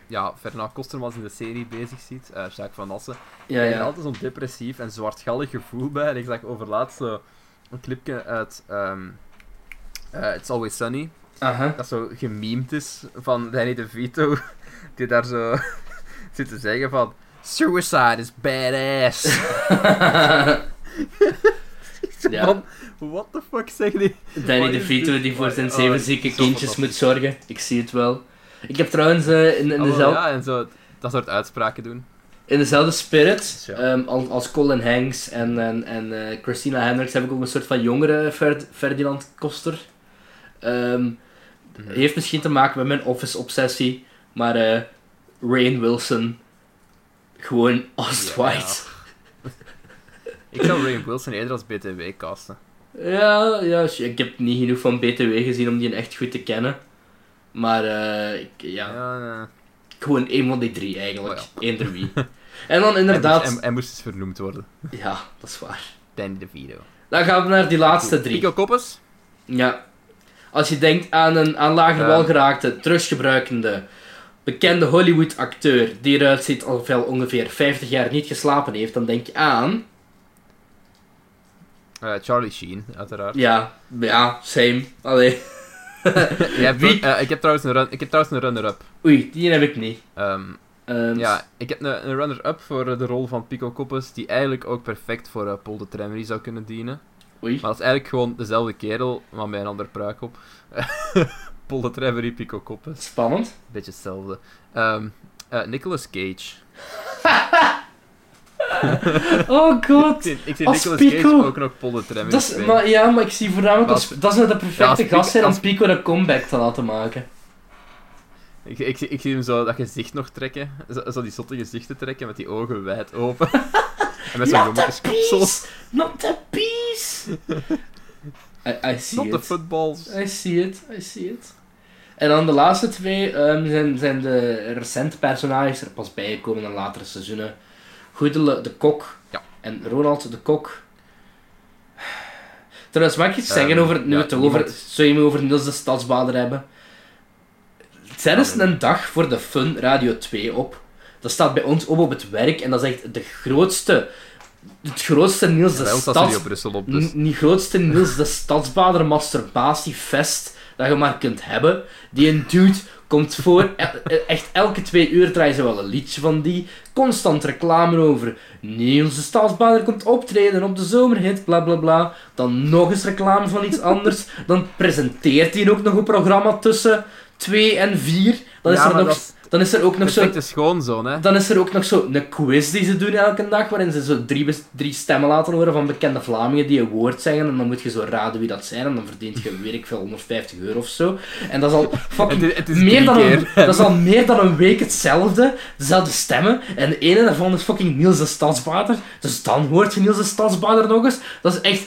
ja, Fernand Kostermans in de serie bezig ziet, eh Jacques van Assen,
ja,
Ik had
ja.
altijd zo'n depressief en zwartgallig gevoel bij. En ik zag overlaatst zo een clipje uit ehm, eh, It's Always Sunny.
Aha.
Dat zo gememd is van Danny DeVito. Die daar zo zit te zeggen van... Suicide is badass.
Ja.
Van, what the fuck zeg die?
Danny
Wat is
DeVito
dit?
die voor zijn
Oh,
zeven
het is
zieke
zo
kindjes moet
fantastisch.
zorgen. Ik zie het wel. Ik heb trouwens eh, in, in,
Ah, wel,
dezelfde,
Ja, en zo dat soort uitspraken doen.
in dezelfde spirit
Ja.
ehm, als, als Colin Hanks en, en, en eh, Christina Hendricks heb ik ook een soort van jongere Ferd- Ferdinand Koster. Ehm,
Mhm.
Heeft misschien te maken met mijn office-obsessie, maar eh Rain Wilson gewoon als
Ja.
Dwight.
Ik zou Ray Wilson eerder als BTW casten.
Ja, ja, sh- ik heb niet genoeg van BTW gezien om die echt goed te kennen. Maar eh, ik, ja,
Ja, eh,
Gewoon één van die drie eigenlijk.
Oh dus
Eender wie. En dan
Hij
inderdaad...
moest, hij- hij moest eens vernoemd worden.
Ja, dat is waar.
Danny DeVito.
Dan gaan we naar die laatste
Goed.
drie.
Pico Koppes.
Ja. Als je denkt aan een aan lager
Ja.
welgeraakte, teruggebruikende, bekende Hollywood-acteur die eruit ziet alsof hij al ongeveer 50 jaar niet geslapen heeft, dan denk je aan...
Eh, Charlie Sheen, uiteraard.
Ja, ja, same. Allee.
Je hebt-
Wie?
eh, ik, heb trouwens een run, ik heb trouwens een runner-up.
Oei, die heb ik niet.
Ehm,
Ehm,
ja, ik heb een, een runner-up voor eh, de rol van Pico Koppes, die eigenlijk ook perfect voor eh, Paul de Tremery zou kunnen dienen.
Oei.
Maar dat is eigenlijk gewoon dezelfde kerel, maar met een ander pruik op. Paul de Tremery, Pico Koppes.
Spannend.
Beetje hetzelfde. Ehm, eh, Nicolas Cage.
Oh
Ik
god.
zie, ik zie
Als
Nicolas
Pico.
Cage ook nog Paul de Tremery
Dat is,
spelen.
maar, ja, maar ik zie voornamelijk
Maar als-
als, dat zou de
Ja,
perfecte
als
gast zijn
Pico-
om Pico een comeback te laten maken.
Ik, ik, zie- ik zie hem zo dat gezicht nog trekken. Zo, zo die zotte gezichten trekken met die ogen wijd open. en met zo'n jommekeskoepsel.
Not the peace! I, I see
Not the
it.
footballs.
I see it, I see it. En dan de laatste twee ehm, zijn, zijn de recente personages er pas bijgekomen in latere seizoenen. Goedele de Kok
Ja.
en Ronald de Kok. Trouwens, mag ik iets
Ehm,
zeggen over, nu
ja,
we het toch over,
niemand-
zou je me over Niels de Stadsbader hebben? Zet eens een dag voor de Fun Radio 2 op. Dat staat bij ons op op het werk en dat is echt de grootste, het grootste Niels de
Bij ons was
Stads...
hij op Brussel op, dus...
N- die grootste Niels de Stadsbader masturbatiefest dat je maar kunt hebben. Die een dude komt voor, e- e- echt elke twee uur draaien ze wel een liedje van die. Constant reclame over Niels de Stadsbader komt optreden op de zomerhit, bla bla bla. Dan nog eens reclame van iets anders. Dan presenteert hij ook nog een programma tussen twee en vier. Dan is,
Ja,
er,
maar
nog,
dat is
dan is er ook nog zo
perfecte schoonzoon, hè.
dan is er ook nog zo'n quiz die ze doen elke dag, waarin ze zo drie, bes- drie stemmen laten horen van bekende Vlamingen die een woord zeggen. En dan moet je zo raden wie dat zijn. En dan verdient je, weet ik veel, 150 euro of zo. En dat is al
Het
fucking...
is, het is
Meer
drie
dan, een,
keer.
dat is al meer dan een week hetzelfde, dezelfde stemmen. En de ene daarvan is fucking Niels de Stadsbader. Dus dan hoort je Niels de Stadsbader nog eens. Dat is echt...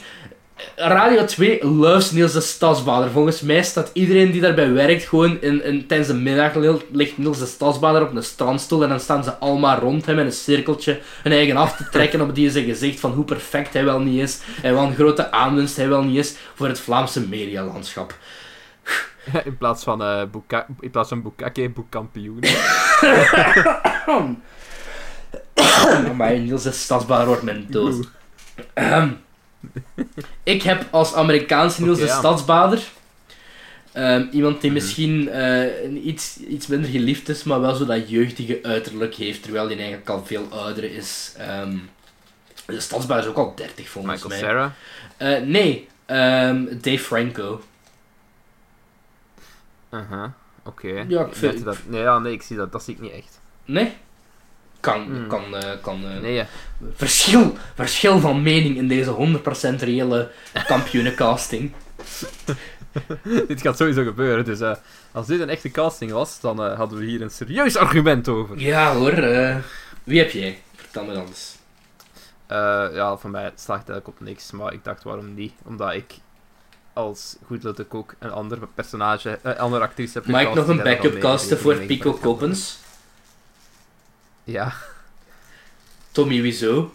Radio 2 loves Niels de Stadsbader. Volgens mij staat iedereen die daarbij werkt gewoon in, in, tijdens de middag ligt Niels de Stadsbader op een strandstoel en dan staan ze allemaal rond hem in een cirkeltje hun eigen af te trekken op die zijn gezicht van hoe perfect hij wel niet is en wat een grote aanwinst hij wel niet is voor het Vlaamse medialandschap.
In plaats van eh Buka- in plaats van Bukake, boekkampioen.
Maar Hm. Niels de Stadsbader wordt mijn dood. Ehm, ik heb als Amerikaanse Niels
Oké,
de
ja. Mhm.
Stadsbader ehm, iemand die misschien eh, een iets, iets minder geliefd is, maar wel zo dat jeugdige uiterlijk heeft, terwijl hij eigenlijk al veel ouder is. Ehm, de Stadsbader is ook al 30 volgens
Michael
mij.
Sarah.
Eh, nee, ehm, Dave Franco.
Aha. Oké.
Ja, ik
Ik
vind-
dacht dat- Nee, ja, nee, ik zie dat. Dat zie ik niet echt.
Nee? Kan,
Hmm.
kan, eh, kan. eh,
Nee, ja.
Verschil, verschil van mening in deze 100% reële kampioenencasting.
dit gaat sowieso gebeuren. Dus eh, als dit een echte casting was, dan eh, hadden we hier een serieus argument over.
Ja hoor, eh, wie heb jij? Vertel me dan eens.
Eh, ja, voor mij slaagt eigenlijk op niks, maar ik dacht waarom niet? Omdat ik als goedlutte kok een ander personage, eh, een andere actrice heb
Mag ik
gecast
nog een
die daar
backup
dan mee
casten
rekening
voor
mee
Pico
gaat houden.
Koppens?
Ja,
Tommy Wiseau?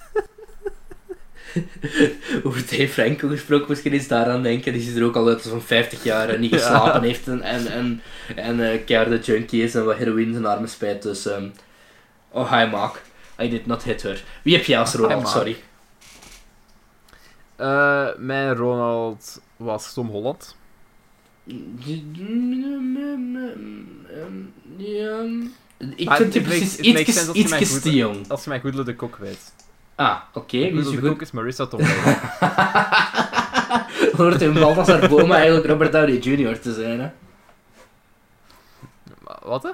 Over Dave Franco gesproken, misschien eens daaraan denken. Die ziet er ook al uit als van 50 jaar en niet
Ja.
geslapen heeft en, en, en, en eh, keiharde junkie is en wat heroïne in zijn armen spijt. Dus, ehm, oh hi Mark, I did not hit her. Wie heb jij als Ronald,
Mark.
sorry?
Eh, mijn Ronald was Tom Holland.
Ik
Maar
vind die
het makes-
precies
it makes
ietjes,
sense dat je mij
ietjes
goed-
te jong.
Als je mij goedlutte kok weet.
Ah, oké.
Goedlutte
dus je
kok is Marissa Tomei.
goed- hoort in Balthasar Boma eigenlijk Robert Downey Jr. te zijn, hè?
Wat hè?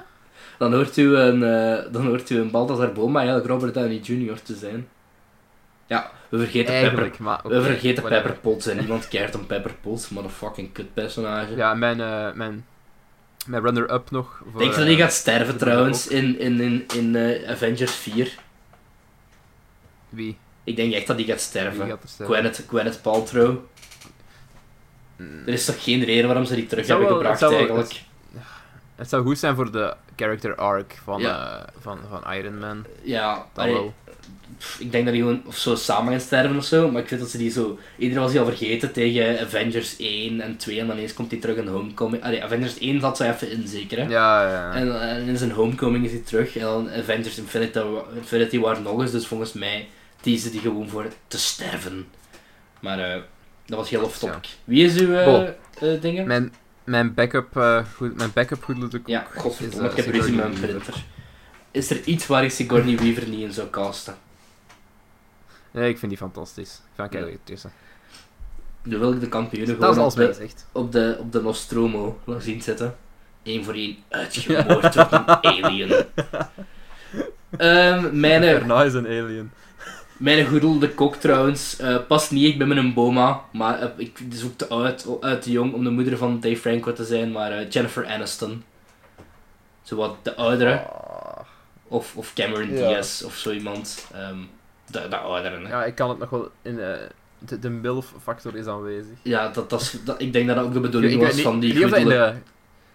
Dan hoort u een, eh dan hoort u een Balthasar Boma eigenlijk Robert Downey Jr. te zijn. Ja, we vergeten Pepper.
Eigenlijk, maar oké,
we vergeten
whatever.
Pepper Potts en niemand keert om Pepper Potts, maar een fucking kut personage.
Ja, mijn, eh, mijn, mijn runner-up nog. Voor,
Denk je dat hij
eh,
gaat sterven
eh,
trouwens in, in, in, in eh, Avengers 4?
Wie?
Ik denk echt dat hij gaat sterven.
Wie gaat er sterven?
Gwyneth, Gwyneth Paltrow.
Mm.
Er is toch geen reden waarom ze die terug
Het zou
hebben
wel-
gebracht
het zou wel-
eigenlijk.
Het zou goed zijn voor de character arc van,
Ja.
eh, van, van Iron Man.
Ja,
Dat
allee,
wel.
pff, ik denk dat die gewoon of zo samen gaan sterven of zo. Maar ik vind dat ze die zo. Iedereen was die al vergeten tegen Avengers 1 en 2. En dan eens komt die terug in Homecoming. Allee, Avengers 1 zat zo even in zeker. Hè?
Ja, ja.
En, eh, en in zijn Homecoming is hij terug. En dan Avengers Infinity, Wa- Infinity War nog eens. Dus volgens mij kiezen die gewoon voor te sterven. Maar eh, dat was heel off topic. Wie is uw eh
Bo.
eh, dingen?
Mijn, mijn backup, eh goed, mijn backup goed doet
Ja, godverdomme,
Is,
ik
eh,
heb ruzie met
Sigourney
mijn
Weaver.
printer. Is er iets waar ik Sigourney Weaver niet in zou casten?
Nee, ik vind die fantastisch. Van kijk tussen.
Dan wil ik de kampioenen Dus
Dat is
gewoon op
alles mee
de,
gezegd.
op, de, op de Nostromo zien zitten. Eén voor één uitgemoord door een alien. Ehm mijn,
Erna is een alien.
mijn goedelde kok trouwens eh, past niet, ik ben met een boma, maar eh, ik zoek te uit, uit te jong om de moeder van Dave Franco te zijn, maar eh, Jennifer Aniston. Zowat de oudere.
Ah.
Of, of Cameron
Ja.
Diaz of zo iemand. Ehm de, de ouderen. hè. Ja,
Ja, ik kan het nog wel in... eh, de, de MILF-factor is aanwezig.
dat, dat is, dat, ik denk dat dat ook de
Ik,
bedoeling
ik
was
weet niet,
van die
ik weet niet of dat in
goedele-
de,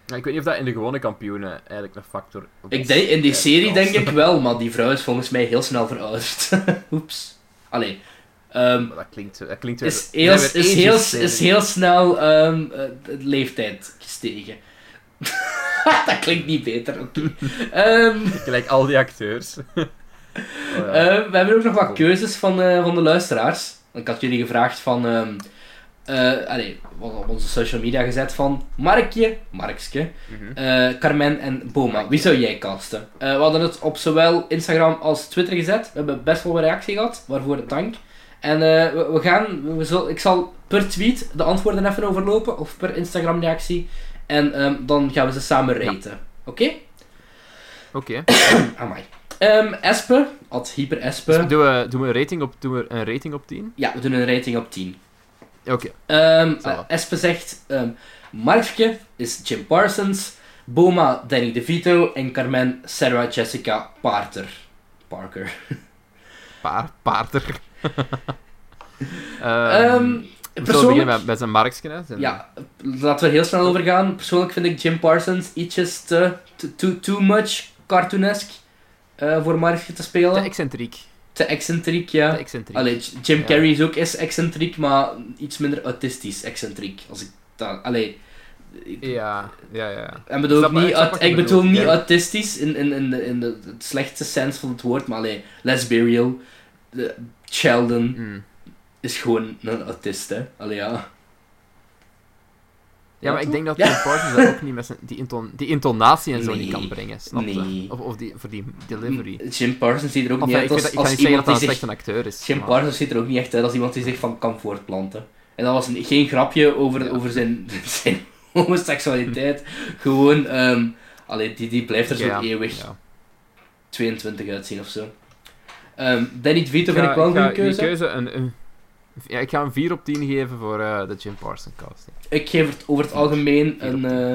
ja, ik weet niet of dat in de gewone kampioenen eigenlijk een factor was.
Ik denk, in die serie denk
Eigenlijk
ik wel, maar die vrouw is volgens mij heel snel verouderd. Oeps. Allee. ehm,
wel. Maar dat klinkt, dat klinkt weer-
is,
dat
heel,
weer
is,
ages
heel,
serie.
is heel snel ehm, eh, de leeftijd gestegen. dat klinkt niet beter, oké. Ehm,
Gelijk al die acteurs. Oh ja.
Eh, we hebben ook nog wat
Cool.
keuzes van, eh, van de luisteraars. Ik had jullie gevraagd van... ehm eh, allee, wat op onze social media gezet van Markje, Markske,
Mhm.
eh, Carmen en Boma. Wie zou jij casten? Eh, we hadden het op zowel Instagram als Twitter gezet. We hebben best wel een reactie gehad, waarvoor dank. En eh, we, we gaan, we, we zullen- ik zal per tweet de antwoorden even overlopen, of per Instagram reactie. En ehm, dan gaan we ze samen
Ja.
raten. Oké? eh.
Oké.
Amai. Ehm Espe, at hyper Espe.
Dus doen, we, doen, we een rating op, doen we een rating op 10?
Ja, we doen een rating op 10.
Oké.
Ehm
Zal wel.
eh, Espe zegt: ehm Markje is Jim Parsons, Boma Danny DeVito en Carmen Sarah Jessica Parter. Parker.
Paar, paarder. Eh,
Ehm
Zullen we beginnen
persoonlijk,
met, met zijn marksken? hè? Zijn-
ja, laten we er heel snel over gaan. Persoonlijk vind ik Jim Parsons ietsjes te, te- too, too much cartoonesk eh, voor Markje te
Te
spelen.
excentriek.
te excentriek, ja.
Te excentriek.
Allee, J- Jim
Ja.
Carrey is ook eens excentriek, maar iets minder autistisch excentriek. Als ik dat... Allee... ik-
Ja, ja, ja.
En bedoel
Ik
ik,
snap-
niet,
ik snap
aut-
wat
ik,
je bedoelt,
bedoel niet
ja.
autistisch in, in, in, de, in de, het slechtste sens van het woord, maar allee, Les Burial, de- Sheldon
Mm.
is gewoon een autist, hè. Allee, ja.
Ja, maar ik denk dat
Ja.
Jim Parsons dat ook niet met zijn, die, inton, die intonatie en zo
Nee.
niet kan brengen, snap je?
Nee.
Of, of die, voor die delivery.
Jim Parsons ziet er ook
Enfin,
niet
ik,
uit als,
weet dat, ik
als
kan niet zeggen
iemand
dat dat
die
een
zich...
slechte acteur is.
Jim
maar-
Parsons ziet er ook niet echt uit als iemand die zich van kan voortplanten. En dat was een- geen grapje over,
Ja.
over zijn, zijn homoseksualiteit gewoon... ehm allee, die, die blijft er zo
Ja,
eeuwig
ja.
22 uitzien of zo. Ehm Danny DeVito vind
ga-
ik wel een
ga
goede
die
keuze.
keuze een, een- ja, ik ga een 4 op 10 geven voor eh, de Jim Parsons casting.
Ik geef het over het algemeen
Vier op
een, eh,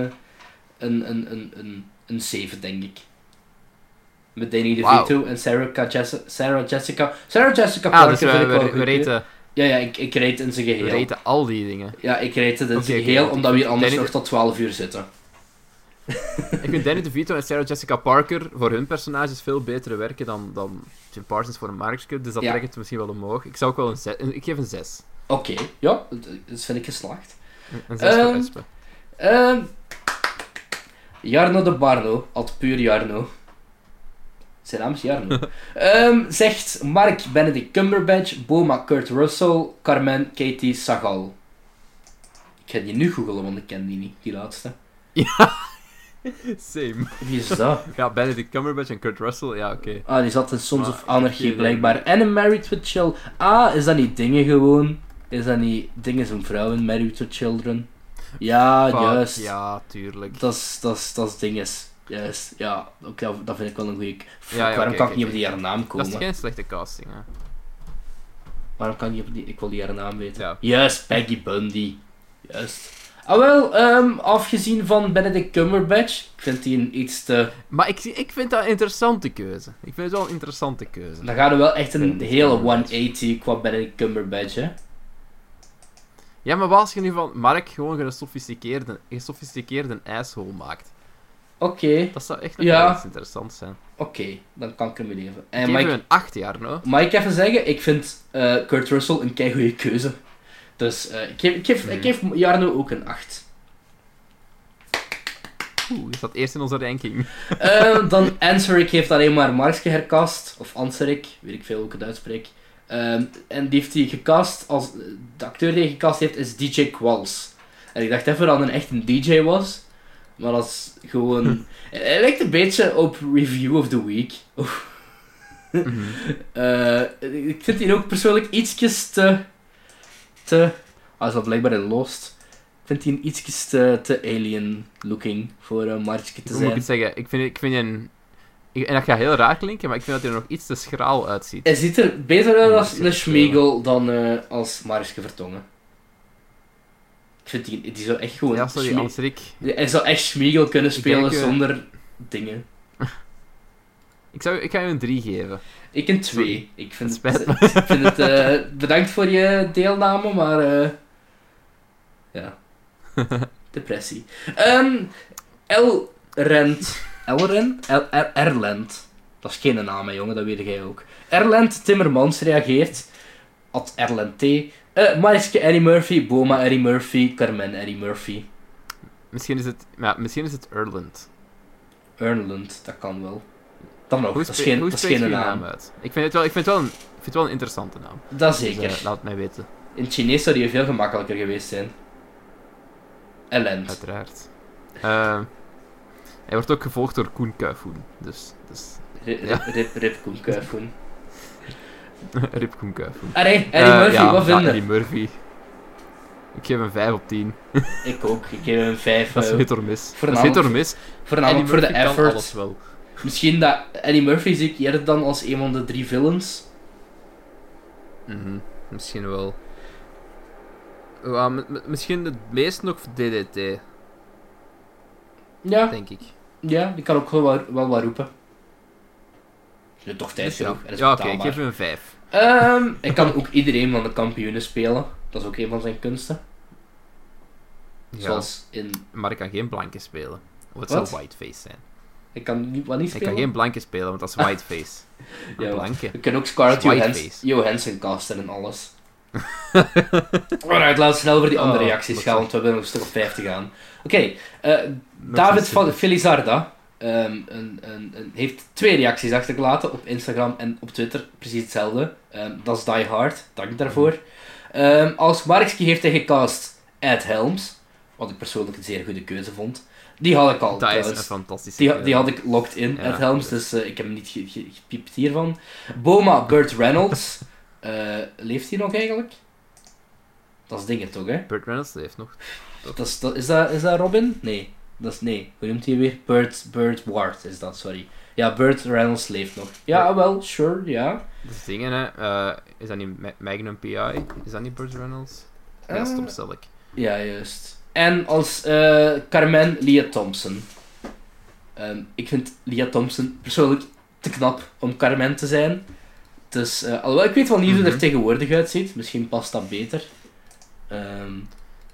een, een, een, een, een 7, denk ik. Met Danny
Wauw.
DeVito en Sarah, Ca- Jesse- Sarah Jessica... Sarah Jessica
Ah,
Parker
dus
vind
we,
ik wel een
we, we,
goede keuze.
reten,
Ja, ja, ik, ik reed in zijn
we
geheel.
reten al die dingen.
Ja, ik reed het in
Oké,
zijn
oké,
geheel,
want ik
omdat we hier
vind
anders
Danny
nog tot 12 uur zitten.
Ik vind Danny DeVito en Sarah Jessica Parker voor hun personages veel betere werken dan, dan Jim Parsons voor een Markscut. Dus dat
Ja.
trekt het misschien wel omhoog. Ik zou ook wel een 6... Ik geef een 6.
Oké, ja, dat dat vind ik geslaagd.
Een 6 voor
Ehm,
Espen.
Ehm Jarno de Barno, ad puur Jarno. Zijn naam is Jarno. Ehm, zegt Mark Benedict Cumberbatch, Boma Kurt Russell, Carmen Katie Sagal. Ik ga die nu googelen, want ik ken die niet, die laatste.
Same.
Wie is dat?
Ja, Benedict Cumberbatch en Kurt Russell. Ja, oké.
Ah, die zat in Sons of
Maar-
Anarchy blijkbaar. En in Married with Children. Ah, is dat niet dingen gewoon? Is dat niet dingen zijn vrouwen, Married with Children? Ja,
Fuck,
Ah, juist.
Ja, tuurlijk.
Dat is- dat is- dat is dinges. Juist, ja. Ook dat, dat vind ik wel een goeie... Fuck,
ja,
waarom
oké,
kan
oké,
ik niet op die
oké.
haar naam
Dat
komen?
is geen slechte casting, hè.
Waarom kan ik niet op die... Ik wil die haar naam weten.
Ja.
Juist, Peggy Bundy. Juist. Ah wel, ehm, afgezien van Benedict Cumberbatch, ik vind die een iets te...
Maar ik, ik vind dat een interessante keuze. Ik vind het wel een interessante keuze.
Dan gaan we wel echt een
Benedict
hele
Cumberbatch.
180 qua Benedict Cumberbatch, hè.
Ja, maar wat als je nu van Mark gewoon een gesofisticeerde, gesofisticeerde asshole maakt?
Oké.
Dat zou echt nog
Ja.
wel iets interessants zijn.
Oké, dan kan ik hem leven.
Ik
En
geef
mag,
hem
ik-
een 8 jaar, nou.
mag ik even zeggen, ik vind eh, Kurt Russell een keigoede keuze. Dus eh, ik, geef, ik, geef, ik
Mhm.
geef Jarno ook een 8.
Oeh, die staat eerst in onze ranking.
Eh, dan Anseric heeft alleen maar Markske herkast. Of Anseric, weet ik veel hoe ik het uitspreek. Ehm, en die heeft hij gecast, als, de acteur die hij gecast heeft is DJ Qualls. En ik dacht even dat hij echt een DJ was. Maar dat is
Hm.
gewoon... Hij lijkt een beetje op Review of the Week.
Mhm.
Eh, ik vind die ook persoonlijk ietsjes te... te... Ah, is dat blijkbaar in Lost. Ik vind die ietsjes te, te alien-looking voor een Martje te
Hoe moet ik
zijn.
het zeggen? Ik vind, ik vind een... ik- en dat gaat heel raar klinken, maar ik vind dat hij er nog iets te schraal uitziet.
Hij ziet er beter uit als
Marjske
een
Vertongen.
Schmiegel dan eh, als Marjske Vertongen. Ik vind die... Die zou echt gewoon...
Ja, sorry,
Schmie-
Ansrik.
Hij zou echt Schmiegel kunnen
Ik
spelen
denk, eh,
zonder dingen.
Ik, zou, ik ga je een 3 geven.
Ik een
Sorry.
twee. Ik vind
Het
het... Ik vind het eh, bedankt voor je deelname, maar... eh, ja. Depressie. Ehm El Rent. El Rent? El, er, Erlent. Dat is geen naam, hè, jongen, dat weet jij ook. Erlent Timmermans reageert. At Erlent T. Eh Mariske Eddie Murphy, Boma Eddie Murphy, Carmen Eddie Murphy.
Misschien is het... Ja, misschien is het Erland.
Erlent, dat kan wel. Dan nog,
Hoe
Oh, dat is
spreek-
geen,
hoe
dat is
spreek
geen
je
naam.
je naam uit? Ik vind het wel, ik vind het wel, een, ik vind het wel een interessante naam.
Dat
Dus, eh,
zeker.
laat het mij weten,
In het Chinees zou die veel gemakkelijker geweest zijn. Erlent.
uiteraard. Eh, hij wordt ook gevolgd door Koen Kuifoen. Dus, dus
Rip,
Ja.
rip, rip, rip, Koen Kuifkoen.
Rip Koen Kuifoen.
Allee,
Eh,
Eddie Murphy,
ja,
wat
ja,
vinden?
Eddie Murphy. Ik geef een 5 op 10.
Ik ook, ik geef hem een 5.
Dat is hit or miss. Dat is
voornamelijk-
hit or miss.
voornamelijk voor de
Murphy kan
effort.
alles wel.
Misschien dat Eddie Murphy zie ik eerder dan als een van de drie villains.
Mhm, Misschien wel. Ja, m- m- misschien het meest nog voor DDT,
Ja,
denk ik.
ja die kan ook wel, wat- wel wat roepen. Je hebt toch tijd
Dus
genoeg,
ja,
en dat is
ja oké, ik
betaalbaar.
geef hem een 5.
Ehm, hij kan ook iedereen van de kampioenen spelen. Dat is ook een van zijn kunsten.
Ja.
Zoals in...
Maar ik kan geen blanke spelen. Of het
Wat?
zou whiteface zijn.
Ik kan niet, wat niet
Ik
spelen.
kan geen blanke spelen, want dat is whiteface. Een
Ja.
blanke.
We kunnen ook Scarlett
Whiteface.
Johans Johansson casten en alles. Alright, laten we snel over die andere
Oh,
reacties
wat
gaan,
zo.
want we hebben nog een stuk of 50 aan. Oké, eh, David van Felizarda ehm, een, een, een, heeft twee reacties achtergelaten op Instagram en op Twitter. Precies hetzelfde. Ehm, dat is Die Hard, dank daarvoor.
Mhm.
Ehm, als Markski heeft hij gecast Ed Helms, wat ik persoonlijk een zeer goede keuze vond. Die had ik al
Dat is een
trouwens.
fantastische eh,
Die, ha-
keuze.
die had ik locked in,
Ja.
Ed Helms, dus eh, ik heb hem niet ge- ge- gepiept hiervan. Boma Burt Reynolds. Eh, leeft hij nog eigenlijk? Dat is dingen toch, hè?
Burt Reynolds leeft nog.
Dat is, dat, is, dat, is dat Robin? Nee. Dat is, nee. Hoe noemt hij weer? Burt, Burt Ward is dat, sorry. Ja, Burt Reynolds leeft nog. Ja,
Ja.
wel, sure, ja.
Dat is dingen, hè. Eh, is dat niet Ma- Magnum PI? Is dat niet Burt Reynolds? Nee, dat is Tom
Eh,
Selleck.
Ja, juist. En als eh, Carmen Lia Thompson. Ehm, ik vind Lia Thompson persoonlijk te knap om Carmen te zijn. Dus, eh, alhoewel ik weet wel niet hoe
Mhm.
er tegenwoordig uitziet. Misschien past dat beter. Ehm,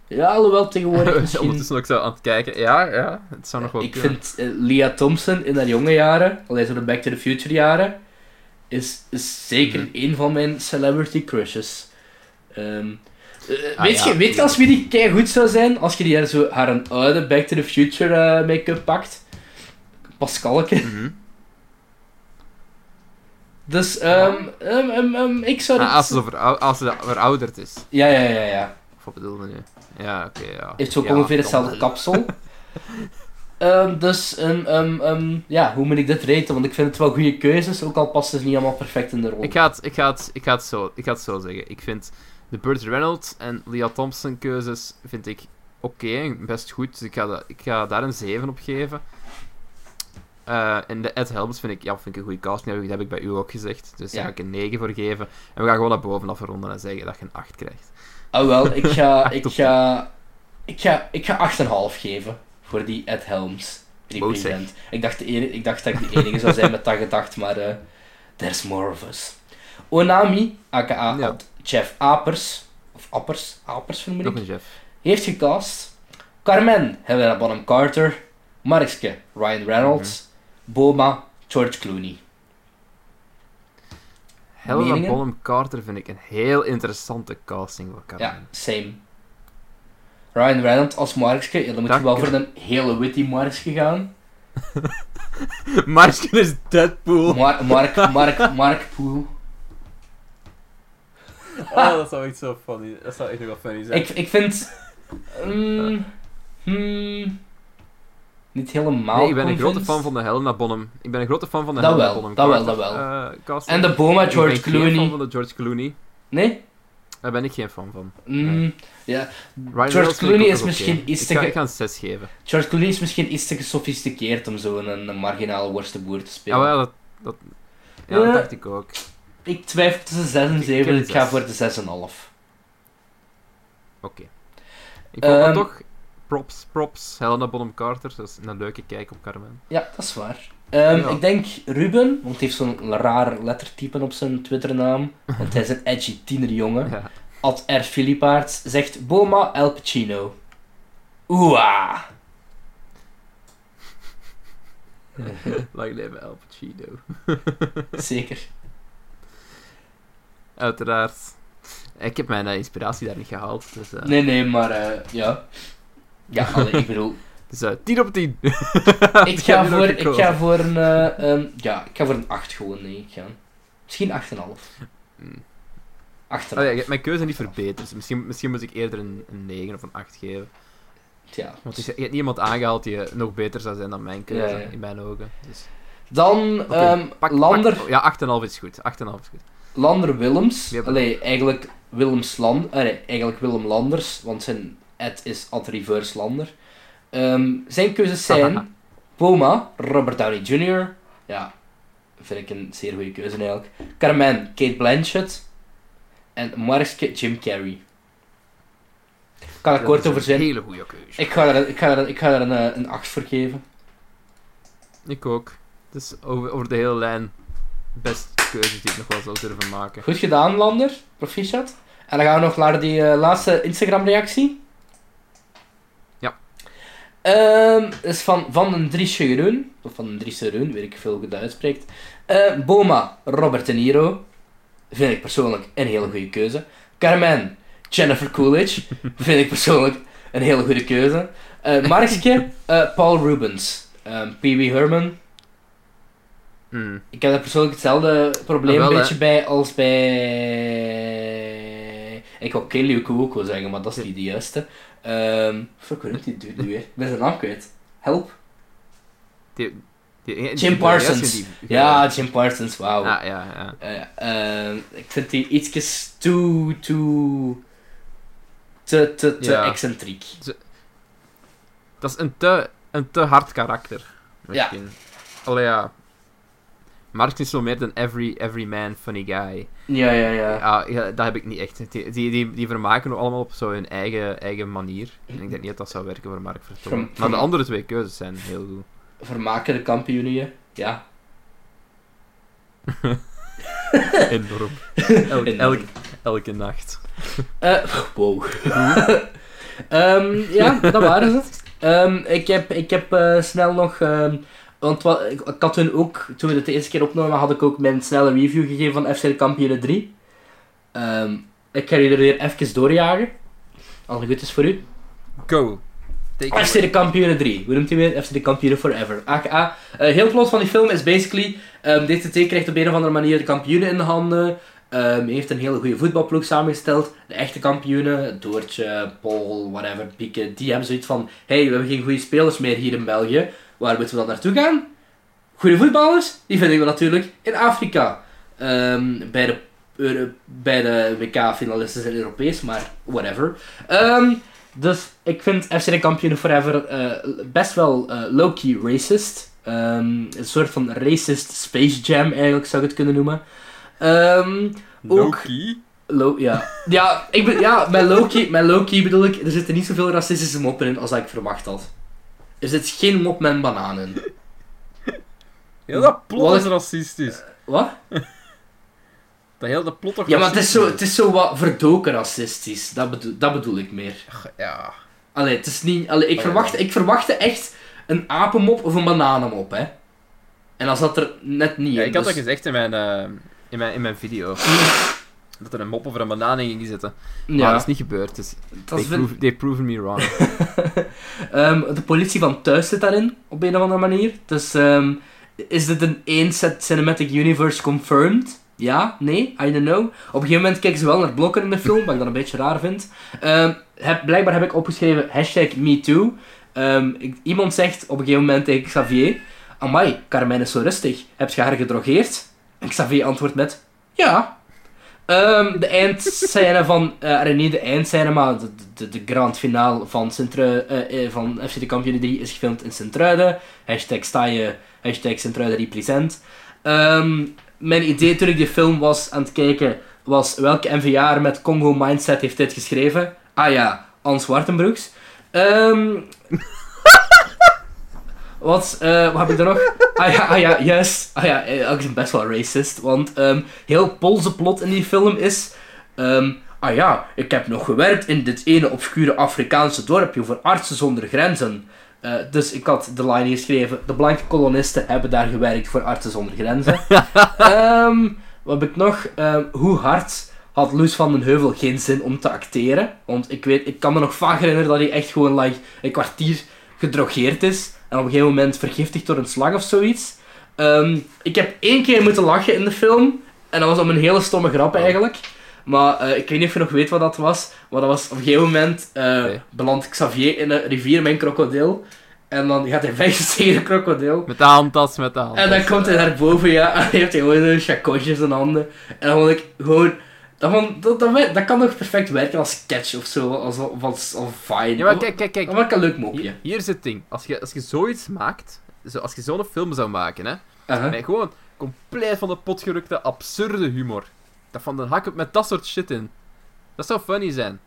ja, alhoewel tegenwoordig misschien...
Ondertussen ook zo aan het kijken. Ja, ja. Het zou nog wel
Ik
kunnen.
vind eh, Lia Thompson in haar jonge jaren, alleen zo de Back to the Future jaren, is, is zeker
Mhm.
een van mijn celebrity crushes. Ehm, eh,
Ah,
weet,
ja.
je, weet je als wie die goed zou zijn? Als je die haar, zo, haar een oude Back to the Future eh, make-up pakt. Pascalke.
Mhm.
Dus ehm, ehm, ehm, ehm, ik zou
Ah,
dat...
als, ze zo verou- als ze verouderd is.
Ja, ja, ja, ja.
Of wat bedoelde nu? Ja, oké, ja.
Heeft zo
Ja,
ongeveer
kan
hetzelfde
wel.
kapsel. Ehm, dus, ehm, ehm, ehm, ja, hoe moet ik dit reten? Want ik vind het wel goede keuzes, ook al past het niet allemaal perfect in de rol.
Ik ga, het, ik, ga het, ik, ga het zo, ik ga het zo zeggen. Ik vind de Burt Reynolds en Leah Thompson keuzes vind ik oké, en best goed. Dus ik ga, da- ik ga daar een 7 op geven. Eh, en de Ed Helms vind ik, ja, vind ik een goede casting. Dat heb ik, dat heb ik bij u ook gezegd. Dus daar
Ja.
ga ik een 9 voor geven. En we gaan gewoon naar bovenaf ronden en zeggen dat je een 8 krijgt.
Ah wel, ik ga,
Acht
ik
op
ga, ik ga, ik ga 8,5 geven voor die Ed Helms
Wow, zeg.
represent. Ik dacht, de ene- ik dacht dat ik de enige zou zijn met dat gedacht, maar eh, there's more of us. Onami, aka
Ja.
Ad- Jeff Apers, of Appers, Apers vermoed
Nog
ik,
een Jeff.
heeft gecast. Carmen hebben we Bonham Carter, Markske, Ryan Reynolds,
Mhm.
Boma, George Clooney.
Helena
Meningen?
Bonham Carter vind ik een heel interessante casting voor Carmen.
Ja, same. Ryan Reynolds als Markske, ja, dan moet je
Dank
wel
u.
voor een hele witty Markske gaan.
Marsken is Deadpool.
Mark, Mark, Mark, Mark Poel.
Oh, dat zou echt zo funny. Dat zou echt nog wel funny zijn.
Ik, ik vind... mm, hmm, niet helemaal
Nee, ik ben een
convinced.
grote fan van de Helena Bonham. Ik ben een grote fan van de
Dat
Helena
wel,
Bonham.
dat wel,
Carter,
dat wel.
eh, casting.
En de Boma, George
ik ben geen fan
Clooney.
van de George Clooney.
Nee?
Daar ben ik geen fan van.
Mm, ja. George
Ryan Reynolds vind ik
Clooney is
ook nog oké.
misschien iets
ik
te
Ga,
ge-
ik ga een 6 geven.
George Clooney is misschien iets te gesofisticeerd om zo'n een, marginale worstenboer te
Ja,
spelen.
maar ja, Ah, dat, dat, ja, dat
Ja.
dacht ik ook. Oké,
Ik twijfel tussen 6 en
Ik
7,
heb
dus ik ga
zes.
voor de 6,5.
Ik vond
Ehm.
dat toch... Props, props. Helena Bonham Carter. Dat is een leuke kijk op Carmen.
Ja, dat is waar. Ehm,
Ja.
Ik denk Ruben, want hij heeft zo'n raar lettertype op zijn Twitternaam. Want hij is een edgy tienerjongen.
Ja.
Ad R. Filipaerts zegt Boma El Pacino. Oeh. ah,
Lang leven Al Pacino.
Zeker.
Uiteraard. Ik heb mijn eh, inspiratie daar niet gehaald. Dus, eh
Nee, nee, maar eh, ja. Ja, allee, ik bedoel.
dus eh, 10 op 10.
ik,
Ik heb
ga
nu
voor,
ook
ik
gekozen.
ga voor een. eh, ehm, ja, ik ga voor een 8 gewoon, nee. Ik ga, misschien 8,5.
Hmm.
8,5.
Oh ja, ik heb mijn keuze niet verbeterd. Dus misschien, misschien moet ik eerder een, een 9 of een 8 geven.
ja.
Want je je hebt niemand aangehaald die eh, nog beter zou zijn dan mijn keuze,
Ja, ja.
in mijn ogen. Dus,
Dan
oké,
ehm,
pak-
Lander,
pak- ja, 8,5 is goed. 8,5 is goed.
Lander Willems.
Die hebben-
Allee, eigenlijk Willems Land, allee, eigenlijk Willem Landers, want zijn ad is ad reverse Lander. Ehm, zijn keuzes zijn Boma, Robert Downey Jr. Ja, vind ik een zeer goede keuze eigenlijk. Carmen, Kate Blanchett. En Markske, Jim Carrey. Ik kan er
Dat is
kort over zijn.
Een hele goede keuze.
Ik ga er, ik ga er, ik ga er een, eh, een 8 voor geven.
Ik ook. Dus over, over de hele lijn, best keuzes die ik nog wel zou durven maken.
Goed gedaan, Lander. Proficiat. En dan gaan we nog naar die eh, laatste Instagram-reactie.
Ja.
Ehm, dat is van Van den Driesje Jeroen. Of Van den Driesje Jeroen, weet ik veel hoe je dat uitspreekt. Eh, Boma, Robert De Niro. Vind ik persoonlijk een hele goede keuze. Carmen, Jennifer Coolidge. Vind ik persoonlijk een hele goede keuze. Eh Markske, eh, Paul Rubens. Ehm Pee Wee Herman.
Hmm.
Ik heb daar persoonlijk hetzelfde probleem
Jawel,
een
hè.
beetje bij als bij... Ik wou Kelly Okuoko zeggen, maar dat is niet de juiste. Ehm fuck, hoe noemt die dude nu weer? Ik ben zijn naam kwijt. Help.
Die, die, die-
Jim
die-
Parsons.
die- die-
Ja, Jim Parsons, wauw.
Ah, ja, ja.
Eh, ehm, ik vind die ietsjes too, too... te, te, te
Ja.
excentriek.
Dat is een te, een te hard karakter. Misschien. Allee, ja. Mark is zo meer dan every, every man funny guy.
Ja, ja, ja.
Ja, ja, dat heb ik niet echt. Die, die, die, die vermaken ook allemaal op zo hun eigen, eigen manier. En ik denk niet dat dat zou werken voor Mark Vertongen.
Van- van-
Maar de andere twee keuzes zijn heel goed.
Vermaken de kampioenen je. Ja.
Enorm. Elk,
Enorm.
elk, elke nacht.
Eh, wow. Ehm, ja, dat waren ze. Ehm, ik heb, ik heb eh, snel nog... ehm, want wa- ik, ik had toen ook, toen we het de eerste keer opnamen, had ik ook mijn snelle review gegeven van FC de Kampioenen 3. Ehm, ik ga jullie er weer even doorjagen. Als het goed is voor u.
Go. Take it
FC de Kampioenen 3. Hoe noemt hij weer? FC de Kampioenen Forever. AKA. eh, heel plot van die film is basically... ehm DTT krijgt op een of andere manier de kampioenen in de handen. Ehm, heeft een hele goede voetbalploeg samengesteld. De echte kampioenen, Doortje, Paul, whatever, Pieke, die hebben zoiets van... hey, we hebben geen goede spelers meer hier in België. Waar moeten we dan naartoe gaan? Goede voetballers, die vinden we natuurlijk in Afrika. Ehm, bij de, Euro- bij de WK-finalisten zijn Europees, maar whatever. Ehm, dus ik vind FC de Kampioenen Forever eh, best wel eh, low-key racist. Ehm, een soort van racist Space Jam eigenlijk zou ik het kunnen noemen. Ehm, ook-
Loki.
low, ja. Ja, ik ben, ja met, low-key, met low-key bedoel ik, er zitten niet zoveel racistische moppen in als dat ik verwacht had. Er zit geen mop met een banaan in.
Heel dat plot
Wat
is
is-
racistisch.
Wat?
Dat heel dat plot toch
Ja, maar het is zo, het
racistisch
is zo wat verdoken racistisch. Dat bedoel, dat bedoel ik meer.
Ja.
Allee, het is niet... Allee, ik,
Oh,
verwachtte, ik verwachtte echt een apenmop of een bananenmop, hè. En dan zat er net niet
Ja,
in,
ik had
dus-
dat gezegd in mijn, eh, in mijn, in mijn video. dat er een mop over een banaan in ging zitten.
Maar
Ja,
dat is niet gebeurd. Dus
dat
they,
is wel-
prove- they proven me wrong.
Ehm, de politie van thuis zit daarin, op een of andere manier. Dus ehm, is dit een één set cinematic universe confirmed? Ja? Nee? I don't know. Op een gegeven moment kijken ze wel naar blokken in de film, wat ik dan een beetje raar vind. Ehm, heb, blijkbaar heb ik opgeschreven hashtag MeToo. Ehm, ik- iemand zegt op een gegeven moment tegen Xavier... Amai, Carmen is zo rustig. Heb je haar gedrogeerd? En Xavier antwoordt met... Ja. Ehm, de eindscène van... eh nee, niet de eindscène, maar de, de, de grand finale van, Sint van FC de Kampioen 3 is gefilmd in Sint-Truiden. Hashtag sta je, hashtag Sint-Truiden represent. Ehm, mijn idee toen ik die film was aan het kijken, was welke NVA'er met Congo Mindset heeft dit geschreven? Ah ja, Ans Wartenbroeks. Ehm, wat, eh, wat heb ik er nog? Ah ja, ah ja, yes. Ah ja, eh, ik ben best wel racist, want ehm, heel Poolse plot in die film is... ehm, ah ja, ik heb nog gewerkt in dit ene obscure Afrikaanse dorpje voor artsen zonder grenzen. Eh, dus ik had de line geschreven, de blanke kolonisten hebben daar gewerkt voor artsen zonder grenzen. Ehm, wat heb ik nog? Ehm, hoe hard had Loes van den Heuvel geen zin om te acteren? Want ik, weet, ik kan me nog vaak herinneren dat hij echt gewoon like, een kwartier gedrogeerd is. En op een gegeven moment vergiftigd door een slag of zoiets. Ehm, ik heb één keer moeten lachen in de film. En dat was om een hele stomme grap eigenlijk. Maar eh, ik weet niet of je nog weet wat dat was. Maar dat was op een gegeven moment eh
Nee.
belandt Xavier in een rivier met een krokodil. En dan gaat hij vechten tegen een krokodil.
Met de handtas, met de handtas.
En dan komt hij naar boven, ja, en hij heeft gewoon een chacotje in zijn handen. En dan vond ik gewoon... Dat, vond- dat, dat, wer- dat kan nog perfect werken als sketch of zo, als, als, als, fine.
Ja, maar kijk, kijk, kijk.
Dat was een leuk
Hier,
mopje.
hier is het ding. Als je, als je zoiets maakt, zo, als je zo'n film zou maken, hè,
Uh-huh.
met gewoon compleet van de pot gerukte absurde humor. Dat van dan hak het met dat soort shit in. Dat zou funny zijn.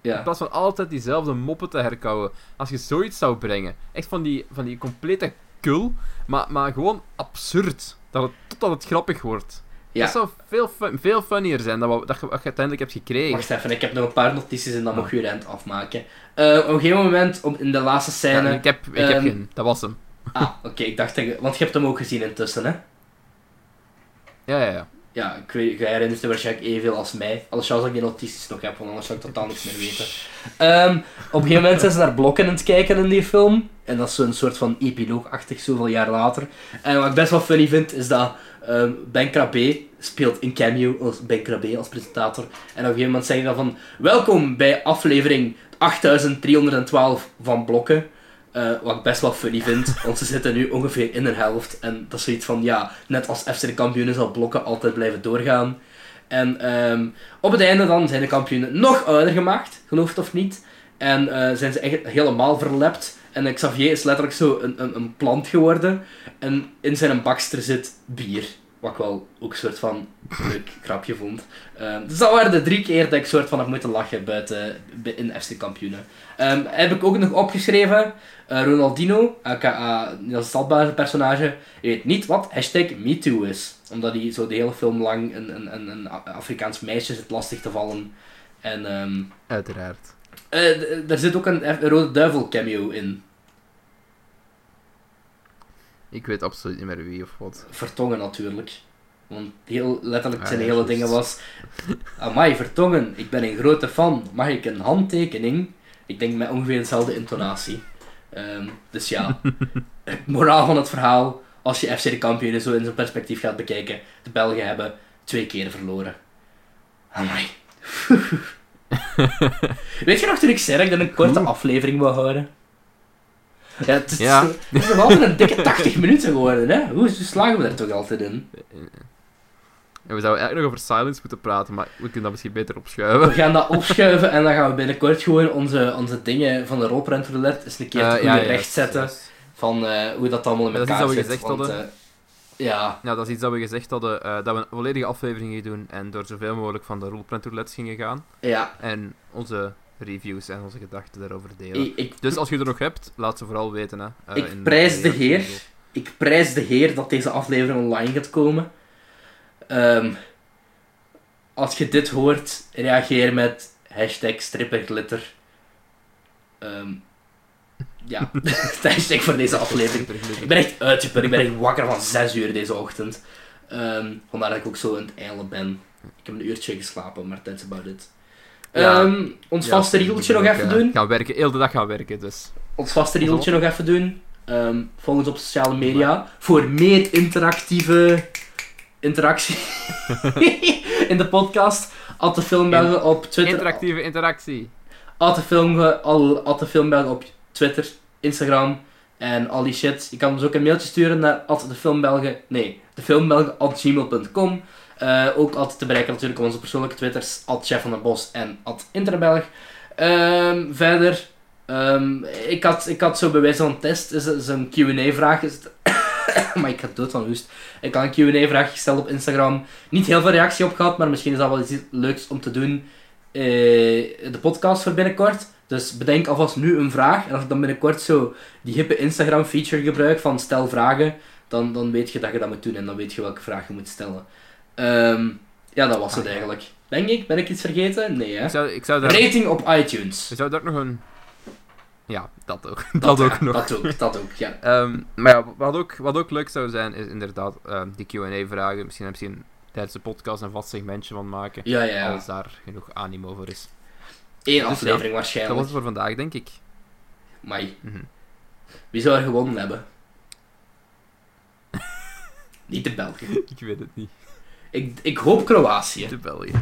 In
Ja.
plaats van altijd diezelfde moppen te herkouwen. Als je zoiets zou brengen. Echt van die, van die complete kul, maar, maar gewoon absurd. Dat het, totdat het grappig wordt.
Ja.
Dat zou veel, fun- veel funnier zijn dan wat, dat je, wat je uiteindelijk hebt gekregen.
Wacht even, ik heb nog een paar notities en dan
Ah.
mag je rent afmaken. Eh, op een gegeven moment, op, in de laatste
Ja,
scène...
ik heb, ik heb
ehm,
geen. Dat was hem.
Ah, oké, ik dacht... dat je- Want je hebt hem ook gezien intussen, hè?
Ja, ja, ja.
Ja, ik weet, jij herinnert je waarschijnlijk evenveel als mij. Anders zou ik die notities nog hebben, want anders zou ik totaal niks meer weten. Ehm, op een gegeven moment zijn ze naar blokken aan het kijken in die film. En dat is zo'n soort van epiloogachtig, zoveel jaar later. En wat ik best wel funny vind, is dat ehm, Ben Krabbe speelt een cameo als Ben Krabbe als presentator. En op een gegeven moment zeggen dan van... Welkom bij aflevering 8312 van Blokken. Eh, wat ik best wel funny vind, want ze zitten nu ongeveer in hun helft. En dat is zoiets van, ja, net als FC de kampioenen zal blokken altijd blijven doorgaan. En ehm, op het einde dan zijn de kampioenen nog ouder gemaakt, geloof het of niet. En eh, zijn ze echt helemaal verlept. En eh, Xavier is letterlijk zo een, een, een plant geworden. En in zijn bakster zit bier. Wat ik wel ook een soort van leuk grapje vond. Ehm, dus dat waren de drie keer dat ik soort van heb moeten lachen buiten, bi- in FC Kampioenen. Ehm, heb ik ook nog opgeschreven, eh, Ronaldinho, aka Niels Stadbaar personage, weet niet wat hashtag MeToo is. Omdat hij zo de hele film lang een, een, een, een A- Afrikaans meisje zit lastig te vallen. En ehm,
Uiteraard.
eh, d- er zit ook een, F- Rode Duivel cameo in.
Ik weet absoluut niet meer wie of wat.
Vertongen natuurlijk. Want heel letterlijk zijn
Ah, ja,
hele
juist.
dingen was... Amai, Vertongen, ik ben een grote fan. Mag ik een handtekening? Ik denk met ongeveer dezelfde intonatie. Ehm, dus ja, het moraal van het verhaal, als je FC de kampioenen zo in zijn perspectief gaat bekijken, de Belgen hebben twee keer verloren. Amai. Weet je nog toen ik zei dat ik dan een korte aflevering wou houden? Ja, het is,
Hm? Ja.
het is nog altijd een dikke 80 minuten geworden, hè? Hoe hoe slagen we daar toch altijd in?
En we zouden eigenlijk nog over silence moeten praten, maar we kunnen dat misschien beter
We
opschuiven.
gaan dat opschuiven en dan gaan we binnenkort gewoon onze, onze dingen van de rolprent roulette eens een keer
Eh,
goed
ja, ja,
recht zetten. Van eh, hoe dat allemaal in
Maar dat is
elkaar
wat we
zit.
gezegd
want,
hadden.
eh, ja,
Ja, dat is iets dat we gezegd hadden, eh, dat we een volledige aflevering gingen doen en door zoveel mogelijk van de rolprentoutlets gingen gaan.
ja.
En onze reviews en onze gedachten daarover delen.
Ik, ik,
Dus als je er nog hebt, laat ze vooral weten. Hè. Eh,
Ik
in-
prijs de
in-
heer. ik prijs de heer dat deze aflevering online gaat komen. Ehm, als je dit hoort, reageer met hashtag stripperglitter. Ehm, ja, de hashtag voor deze aflevering. Ik ben echt uitgeput. Ik ben echt wakker van 6 uur deze ochtend. Ehm, vandaar dat ik ook zo aan het eilen ben. Ik heb een uurtje geslapen, maar that's about it.
Ja.
Ehm, ons
Ja,
vaste
ik
riedeltje nog
moet
even
ook, eh,
doen.
Gaan werken, heel de dag gaan werken, dus.
Ons vaste riedeltje nog even doen. Ehm volg ons op sociale media voor meer interactieve interactie in de podcast. At de filmbelgen op Twitter.
Interactieve interactie.
At de, film, al, at de filmbelgen op Twitter, Instagram en al die shit. Je kan ons ook een mailtje sturen naar at de filmbelgen. Nee, de filmbelgen at gmail.com. Eh, ook altijd te bereiken natuurlijk op onze persoonlijke Twitters, at Chef van der Bos en at Interbelg. Ehm, verder, ehm, ik, had, ik had zo bij wijze van test, is, is een Q&A-vraag. Is het... maar ik ga dood van hoest. Ik had een Q&A-vraag gesteld op Instagram. Niet heel veel reactie op gehad, maar misschien is dat wel iets leuks om te doen. eh, de podcast voor binnenkort. Dus bedenk alvast nu een vraag. En als ik dan binnenkort zo die hippe Instagram-feature gebruik van stel vragen, dan, dan weet je dat je dat moet doen en dan weet je welke vraag je moet stellen. Ehm, ja, dat was het eigenlijk. Denk ik? Ben ik iets vergeten? Nee, hè?
Ik zou, ik zou daar, ik
Rating op iTunes.
zou daar ook nog een... Ja, dat ook. Dat, ook
ja,
nog.
Dat ook, dat ook, ja.
Ehm, maar ja, wat ook, wat ook leuk zou zijn, is inderdaad ehm, die Q&A-vragen. Misschien heb je tijdens de podcast een vast segmentje van maken.
Ja, ja, ja.
Als daar genoeg animo voor is.
Eén
Dus
aflevering
Dat was
waarschijnlijk.
het voor vandaag, denk ik.
Maar
Mhm.
wie zou er gewonnen hebben? Niet de Belgen.
Ik weet het niet.
Ik, ik hoop Kroatië.
De België.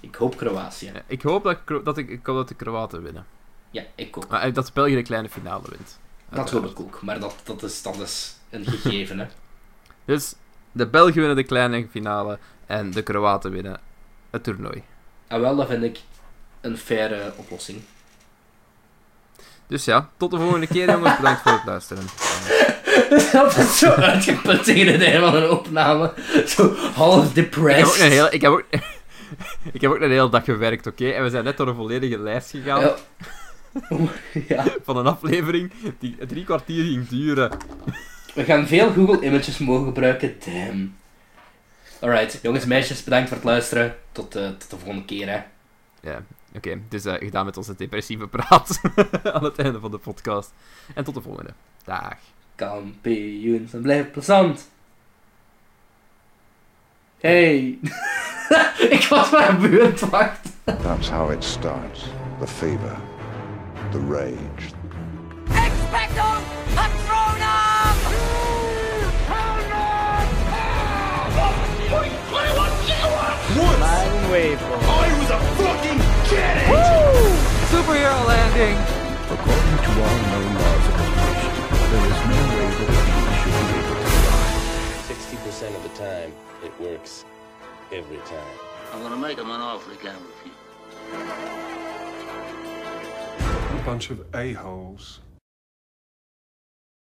Ik hoop Kroatië.
Ja, ik hoop dat, Kro- dat, ik, ik hoop dat de Kroaten winnen.
Ja, ik ook.
Maar, eh, dat België de kleine finale wint.
Dat hoop ik ook. Maar dat, dat, is, dat is een gegeven, hè.
Dus de Belgen winnen de kleine finale en de Kroaten winnen het toernooi.
En Ah, wel, dat vind ik een faire oplossing.
Dus ja, tot de volgende keer jongens. Bedankt voor het luisteren.
dat is zo uitgeput tegen het einde van een opname. Zo half
Ik heb ook
depressed.
een hele, ik heb ook, ik heb ook een hele dag gewerkt, oké? En we zijn net door een volledige lijst gegaan
Ja. ja.
van een aflevering die drie kwartier ging duren.
We gaan veel Google Images mogen gebruiken, damn. Alright, jongens en meisjes, bedankt voor het luisteren. Tot, eh, tot de volgende keer, hè.
Ja, oké. dus eh, gedaan met onze depressieve praat aan het einde van de podcast. En tot de volgende. Dag.
Kampioens, en blijf plezant. Hey. Ik was maar een buurtwacht.
That's how it starts. The fever, the rage,
Expecto Patronum!
Superhero landing!
According to all known laws of evolution, there is no way that a bee should be able to fly.
60% of the time, it works every time.
I'm gonna make him an offer he can refuse.
bunch of a-holes.